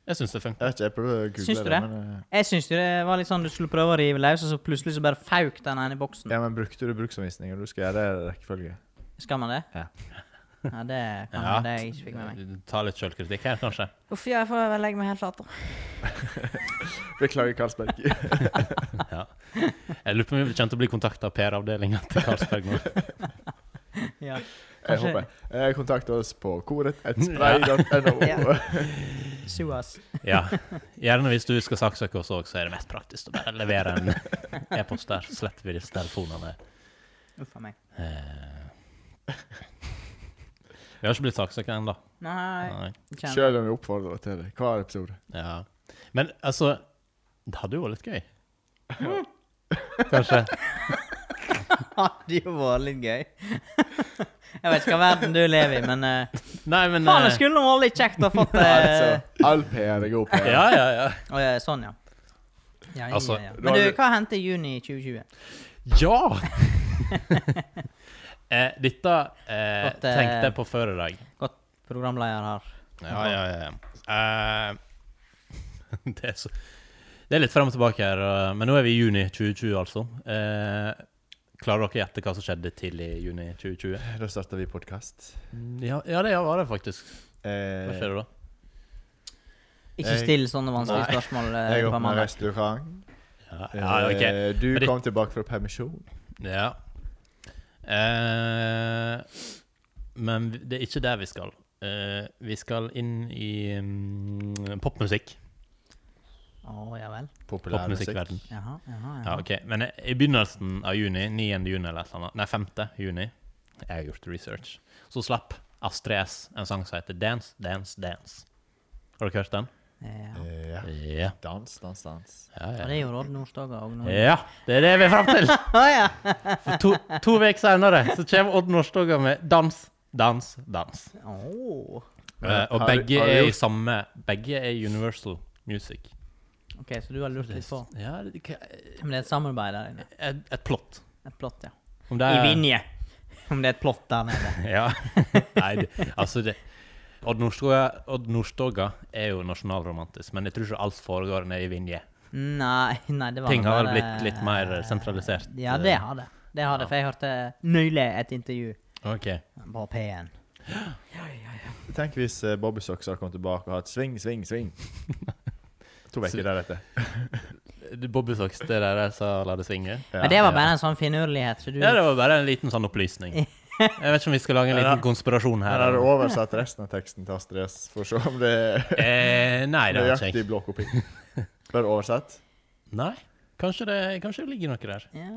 Speaker 1: Jeg syns det funker.
Speaker 2: Jeg vet ikke, jeg prøvde å google
Speaker 3: Syns du
Speaker 2: det.
Speaker 3: det?
Speaker 2: Men, eh,
Speaker 3: Jeg syns jo det var litt sånn du skulle prøve å rive løs, og så plutselig så bare fauk den ene i boksen.
Speaker 2: ja, men Brukte du bruksanvisning, og du skal gjøre det i rekkefølge?
Speaker 3: Skal man det?
Speaker 2: Ja.
Speaker 3: Ja, det kan
Speaker 1: Ja.
Speaker 3: man, det jeg ikke fikk med meg.
Speaker 1: Ta litt sjølkritikk her, kanskje.
Speaker 3: Uff, ja, jeg får vel legge meg helt flat, da.
Speaker 2: Beklager, Karlsberg.
Speaker 1: Ja. Jeg lurer på om vi kommer til å bli kontakta av PR-avdelinga til Karlsberg nå.
Speaker 3: Ja.
Speaker 2: Jeg
Speaker 3: Kanskje-
Speaker 2: håper Eh, Kontakt oss på koret.spray.no.
Speaker 3: Ja. Sue us.
Speaker 1: Ja. Gjerne hvis du skal saksøke oss òg, så er det mest praktisk å bare levere en e-post der. Så slipper vi disse telefonene.
Speaker 3: Uff a meg.
Speaker 1: Eh. Vi har ikke blitt saksøkt ennå.
Speaker 3: Nei,
Speaker 1: Nei.
Speaker 3: kjenner-
Speaker 2: Selv om vi oppfordrer til det hver episode.
Speaker 1: Ja. Men altså Det hadde jo vært litt gøy. Kanskje.
Speaker 3: hadde jo vært litt gøy. jeg vet ikke hva verden du lever i, men eh,
Speaker 1: Nei, men
Speaker 3: Faen, det
Speaker 1: eh,
Speaker 3: skulle nå vært litt kjekt å ha fått eh,
Speaker 2: Altså, all PR er god PR.
Speaker 1: Ja, ja, ja.
Speaker 3: Å, ja, Sånn, ja. Ja, ja,
Speaker 1: Altså,
Speaker 3: ja.
Speaker 2: da
Speaker 3: Men
Speaker 2: har
Speaker 3: du,
Speaker 2: du-
Speaker 3: hva hendte i juni 2020?
Speaker 1: Ja! eh, dette eh,
Speaker 3: At, eh,
Speaker 1: tenkte jeg på før i dag.
Speaker 3: Programleder her.
Speaker 1: Ja, ja, ja. ja. Eh, det, er så, det er litt frem og tilbake her, eh, men nå er vi i juni 2020, altså. Eh, klarer dere å gjette hva som skjedde tidlig i juni 2020?
Speaker 2: Da starter vi podkast.
Speaker 1: Ja, ja det var det faktisk. Hva
Speaker 2: Eh,
Speaker 1: skjer da?
Speaker 3: Ikke
Speaker 2: Jeg-
Speaker 3: still sånne vanskelige
Speaker 2: Nei.
Speaker 3: spørsmål eh,
Speaker 2: jeg
Speaker 3: på
Speaker 2: åpner
Speaker 3: mandag.
Speaker 2: restaurant.
Speaker 1: Ja,
Speaker 2: Eh,
Speaker 1: ja ok.
Speaker 2: Du
Speaker 1: Men det-
Speaker 2: kom tilbake fra permisjon.
Speaker 1: Ja. Eh, men vi- det er ikke der vi skal. Eh, vi skal inn i mm, popmusikk.
Speaker 3: Å, ja vel.
Speaker 1: Popmusikkverden.
Speaker 3: Jaha, jaha, jaha.
Speaker 1: Ja, ok. Men i- i begynnelsen av juni, 9. juni eller et eller annet, nei, 5. juni, jeg har gjort research, så slapp Astrid S en sang som heter Dance, Dance, Dance. Har dere hørt den?
Speaker 3: Ja.
Speaker 2: Eh, ja.
Speaker 1: Ja.
Speaker 2: Dans, dans, dans.
Speaker 1: Ja,
Speaker 3: Og det er jo Rodd Nordstoga og noen
Speaker 1: ja det er det vi er fram til!
Speaker 3: Å, ja.
Speaker 1: For to, to uker senere så kommer Odd Nordstoga med Dans, Dans, Dans.
Speaker 3: Åh.
Speaker 1: Eh, og
Speaker 2: Har-
Speaker 1: begge
Speaker 2: har du
Speaker 1: er i
Speaker 2: gjort-
Speaker 1: samme Begge er i Universal Music.
Speaker 3: OK, så du har lurt litt på.
Speaker 1: Ja, det- hva-
Speaker 3: Om det er et samarbeid der inne.
Speaker 1: et, et plott.
Speaker 3: Et plott, ja.
Speaker 1: Om det
Speaker 3: I
Speaker 1: er-
Speaker 3: Vinje. Om det er et plott der nede.
Speaker 1: Ja. Nei, det, altså det Odd Nordstoga, Odd Nordstoga er jo nasjonalromantisk, men jeg tror ikke alt foregår nede i Vinje.
Speaker 3: Nei, nei, det var
Speaker 1: Ting har
Speaker 3: bare-
Speaker 1: vel blitt litt mer eh, sentralisert. eh.
Speaker 3: Ja, det har det. Det har det, for jeg hørte nylig et intervju
Speaker 1: Ok.
Speaker 3: på P1.
Speaker 2: Tenk hvis eh, Bobby Socks hadde kommet tilbake og hatt sving, sving, sving. To
Speaker 1: Så-
Speaker 2: uker deretter.
Speaker 1: Du, Bobby Socks, det der jeg sa la det svinge?
Speaker 2: Ja.
Speaker 3: Men det var bare en sånn finurlighet, så du
Speaker 1: Ja, det var bare en liten sånn opplysning. Jeg vet ikke om vi skal lage en liten konspirasjon
Speaker 2: Her har
Speaker 1: her.
Speaker 2: du oversatt resten av teksten til Astrid S, for å se om det er
Speaker 1: Eh, nei, det har jeg ikke
Speaker 2: nøyaktig
Speaker 1: jeg.
Speaker 2: blåkopi. Bare oversett.
Speaker 1: Nei. Kanskje det, kanskje det ligger noe der.
Speaker 3: Ja,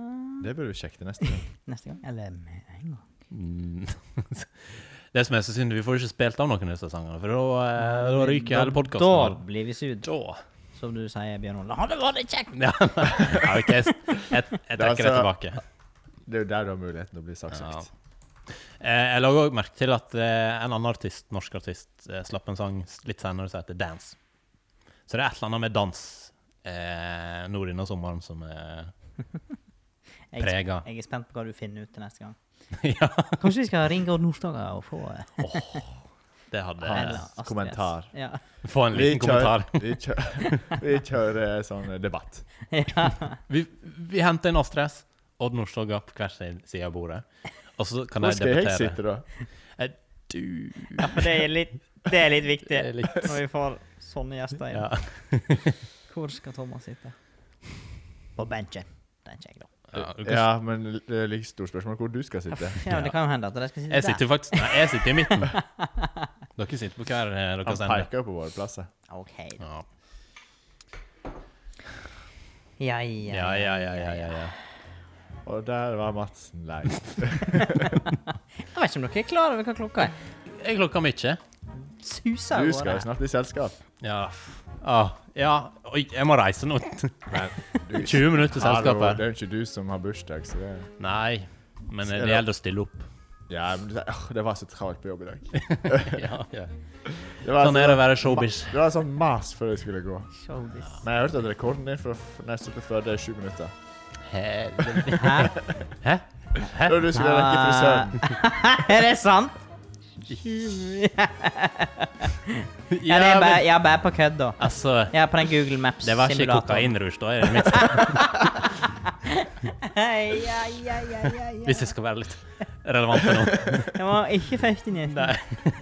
Speaker 2: Det burde du sjekke til neste gang.
Speaker 3: Neste gang. Eller med en gang.
Speaker 1: Mm. Det som er så synd, vi får ikke spilt av noen av disse sangene, for da, eh, da ryker hele
Speaker 3: Da
Speaker 1: podkasten.
Speaker 3: blir vi sugd,
Speaker 1: Da
Speaker 3: som du sier, Bjørn Ole. Har det vært kjekt?
Speaker 1: Ja, ja, ok, jeg, jeg, jeg
Speaker 2: Det er
Speaker 1: trekker det
Speaker 2: altså-
Speaker 1: tilbake.
Speaker 2: Det er jo der du har muligheten til å bli saksøkt.
Speaker 1: Eh, Jeg la òg merke til at eh, en annen artist, norsk artist eh, slapp en sang s- litt senere som heter Dance. Så det er et eller annet med dans eh, nå denne sommeren som eh, er
Speaker 3: Jeg, er sp-
Speaker 1: prega.
Speaker 3: jeg er spent på hva du finner ut til neste gang.
Speaker 1: ja.
Speaker 3: Kanskje vi skal ringe Odd Nordstoga og få eh,
Speaker 1: Åh, det hadde
Speaker 2: Hans
Speaker 3: eller Astrid S.
Speaker 2: kommentar.
Speaker 3: Ja.
Speaker 1: Få en liten kommentar.
Speaker 2: vi kjører, vi kjører eh, sånn eh, debatt.
Speaker 3: ja.
Speaker 1: Vi, vi henter inn Astrid S. Odd Nordstoga på hver sin side av bordet. Og så kan
Speaker 2: Hvor
Speaker 1: de
Speaker 2: skal jeg
Speaker 1: debattere.
Speaker 2: sitte, da?
Speaker 1: Du
Speaker 3: Ja, for det er litt, det er litt viktig
Speaker 1: Det er litt-
Speaker 3: når vi får sånne gjester inn.
Speaker 1: Ja.
Speaker 3: Hvor skal Thomas sitte? På benken. Benken, jeg, da.
Speaker 1: Ja, du kan-
Speaker 2: Ja, men det er like stort spørsmål hvor du skal sitte.
Speaker 3: Ja, men det kan jo hende at de skal sitte
Speaker 1: Jeg sitter jo faktisk Nei, jeg sitter i midten. Dere sitter på hver eh,
Speaker 2: Han
Speaker 1: deres ende.
Speaker 2: peker jo på våre plasser.
Speaker 3: der. OK.
Speaker 1: Ja.
Speaker 3: Ja,
Speaker 1: Ja, ja, ja. ja, ja, ja.
Speaker 2: Og der var Madsen lei.
Speaker 3: Jeg vet ikke om dere er klar over hva klokka er.
Speaker 1: Jeg klokka meg ikke.
Speaker 3: Suser
Speaker 2: Du
Speaker 3: av
Speaker 2: skal
Speaker 3: gårde.
Speaker 2: jo snart i selskap.
Speaker 1: Ja. f- Ah, ja. Oi, jeg må reise nå. 20 minutter til selskap
Speaker 2: Hallo,
Speaker 1: her.
Speaker 2: Det er jo ikke du som har bursdag, så det
Speaker 1: Nei, men
Speaker 2: Ser
Speaker 1: det
Speaker 2: du?
Speaker 1: gjelder å stille opp.
Speaker 2: Ja, men det, åh, det var så travelt på jobb i dag.
Speaker 1: Ja, ja.
Speaker 2: Det var,
Speaker 1: Sånn
Speaker 2: sånn,
Speaker 1: er det å være showbiz.
Speaker 2: det var sånn mas før jeg skulle gå.
Speaker 3: Showbiz.
Speaker 2: Men jeg hørte at rekorden din for neste til før det er sju minutter.
Speaker 1: Helvete.
Speaker 3: Hæ?
Speaker 1: Hæ? Hæ?
Speaker 2: Når du skulle rekke frisøren.
Speaker 3: er det sant? Ja, det er bare, jeg er bare på kødd, da.
Speaker 1: Altså,
Speaker 3: Jeg er på den Google Maps-simulatoren.
Speaker 1: det var ikke kokainrush, da. i det minste.
Speaker 3: Hei, ja, ja, ja, ja, ja.
Speaker 1: Hvis jeg skal være litt relevant nå.
Speaker 3: Jeg må ikke feste nesen.
Speaker 1: Nei.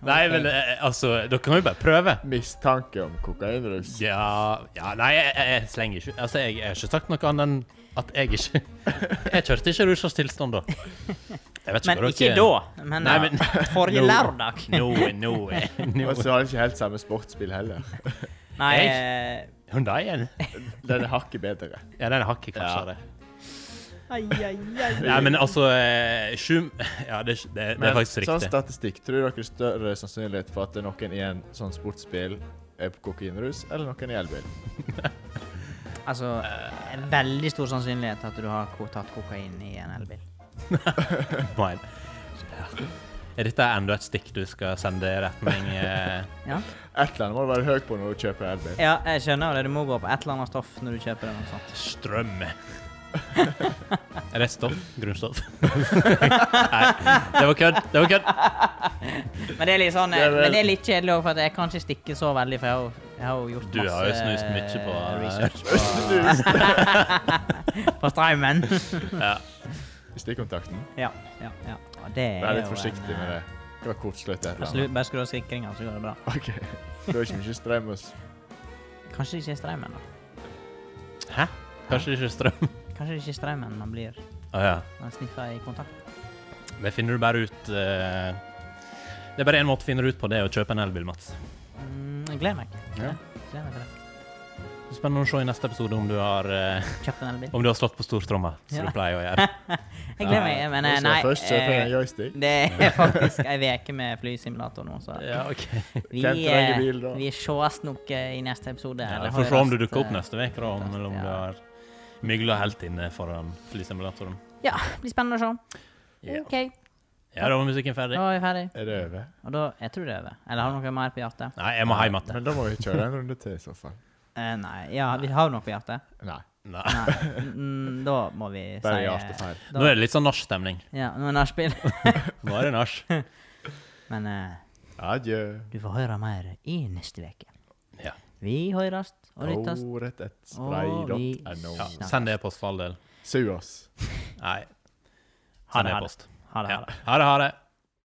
Speaker 1: Nei, men eh, altså Dere kan jo bare prøve.
Speaker 2: Mistanke om kokainrus.
Speaker 1: Ja, ja Nei, jeg, jeg jeg slenger ikke Altså, jeg jeg har ikke sagt noe annet enn at jeg ikke Jeg kjørte ikke rushas tilstand da. Jeg vet
Speaker 3: Men
Speaker 1: hva
Speaker 3: ikke da. Men, eh,
Speaker 1: Nei, men-
Speaker 3: forrige
Speaker 1: Nå.
Speaker 3: lørdag.
Speaker 1: Nå, nå, eh, nå.
Speaker 2: Og så har de ikke helt samme sportsbil heller.
Speaker 3: Nei,
Speaker 1: Jeg?
Speaker 3: eh,
Speaker 1: Hyundai-en?
Speaker 2: Den er hakket bedre.
Speaker 1: Ja, den er hakket
Speaker 2: Ja.
Speaker 1: kvassere.
Speaker 3: ai, ai, ai.
Speaker 1: Nei, men altså eh, Sju Ja, det, er ikke- det, det er
Speaker 2: Men
Speaker 1: faktisk
Speaker 2: sånn
Speaker 1: riktig.
Speaker 2: statistikk, tror dere større sannsynlighet for at det er noen i en sånn sportsbil er på kokainrus, eller noen i elbil?
Speaker 3: Altså, veldig stor sannsynlighet at du har ko- tatt kokain i en elbil.
Speaker 1: Mine. Ja. Er dette enda et stikk du skal sende i retning eh,
Speaker 3: Ja.
Speaker 2: Et eller annet må du være høy på når du kjøper elbil.
Speaker 3: ja, jeg skjønner jo det. Du må gå på et eller annet stoff når du kjøper det. Noe sånt.
Speaker 1: strøm? Er det stoff? Grunnstoff? Nei, det var kødd. Det var kødd.
Speaker 3: Men det er litt sånn,
Speaker 2: Det er vel-
Speaker 3: men det er litt kjedelig òg, for at jeg kan ikke stikke så veldig, for jeg har, jo- jeg har jo gjort
Speaker 1: Du
Speaker 3: masse
Speaker 1: har jo snust mye på
Speaker 3: eh,
Speaker 1: research.
Speaker 3: research på strømmen.
Speaker 1: Ja.
Speaker 2: Stikkontakten.
Speaker 3: ja, ja, ja. Og det er
Speaker 2: Vær
Speaker 3: jo
Speaker 2: litt forsiktig
Speaker 3: en,
Speaker 2: med
Speaker 3: eh,
Speaker 2: det. Det var kortsløyt et eller
Speaker 3: Slu,
Speaker 2: annet.
Speaker 3: Altså, bare skru av sikringa, så går det bra.
Speaker 2: OK. Det var ikke mye strøm hos
Speaker 3: Kanskje det ikke er strømmen, da.
Speaker 1: Hæ? Kanskje det ikke er strøm?
Speaker 3: Kanskje det ikke er strømmen man blir
Speaker 1: Å ja.
Speaker 3: når man sniffer i kontakt.
Speaker 1: Det finner du bare ut eh, Det er bare én måte å finne det ut på, det er å kjøpe en elbil, Mats.
Speaker 3: Mm, jeg gleder meg.
Speaker 1: Ja.
Speaker 3: Gleder meg til det.
Speaker 1: Spennende å se i neste episode om du har, eh,
Speaker 3: Kjøpt en elbil.
Speaker 1: om du har slått på stortromma, som
Speaker 3: Ja.
Speaker 1: du pleier å gjøre.
Speaker 3: Jeg gleder meg, men eh,
Speaker 2: Hvis jeg
Speaker 3: nei
Speaker 2: Først kjøper jeg en
Speaker 3: eh,
Speaker 2: joystick.
Speaker 3: Det er faktisk ei uke med flysimulator nå, så
Speaker 1: Ja, ok.
Speaker 3: vi,
Speaker 2: Hvem trenger
Speaker 3: eh,
Speaker 2: bil da?
Speaker 3: vi sees nok eh, i neste episode.
Speaker 1: Ja,
Speaker 3: eller
Speaker 1: vi får se om du
Speaker 3: høres,
Speaker 1: dukker opp
Speaker 3: eh,
Speaker 1: neste uke, da, om- eller om
Speaker 3: ja.
Speaker 1: du har mygla helt inne foran flysimulatoren.
Speaker 3: Ja, det blir spennende å se.
Speaker 1: Ja.
Speaker 3: OK,
Speaker 1: Ja, da var musikken ferdig.
Speaker 3: da er vi ferdig.
Speaker 2: Er det over?
Speaker 3: Og da Jeg tror det er over. Eller har du noe mer på hjertet?
Speaker 1: Nei, jeg må hjem igjen.
Speaker 2: Men da må vi kjøre en runde til, i så fall.
Speaker 3: Eh, nei. Ja, vi har noe på hjertet.
Speaker 2: Nei.
Speaker 1: Nei.
Speaker 3: Nei. Mm, da må vi si
Speaker 2: Bare ja
Speaker 3: eh,
Speaker 2: til feil.
Speaker 1: Nå er det litt sånn nachstemning.
Speaker 3: Ja, nå er det nachspiel.
Speaker 1: Nå er det nach.
Speaker 3: Men eh,
Speaker 2: Adjø.
Speaker 3: du får høre mer i neste uke.
Speaker 1: Ja.
Speaker 3: Vi høres og lyttes.
Speaker 2: Oretetspray.no.
Speaker 1: Ja, send det post for all del.
Speaker 2: Sug oss.
Speaker 1: Nei.
Speaker 3: Ha
Speaker 1: Send
Speaker 3: det,
Speaker 1: det
Speaker 3: ha det.
Speaker 1: post.
Speaker 3: Ha det. Ha
Speaker 1: Ja.
Speaker 3: det.
Speaker 1: Ha det, ha det.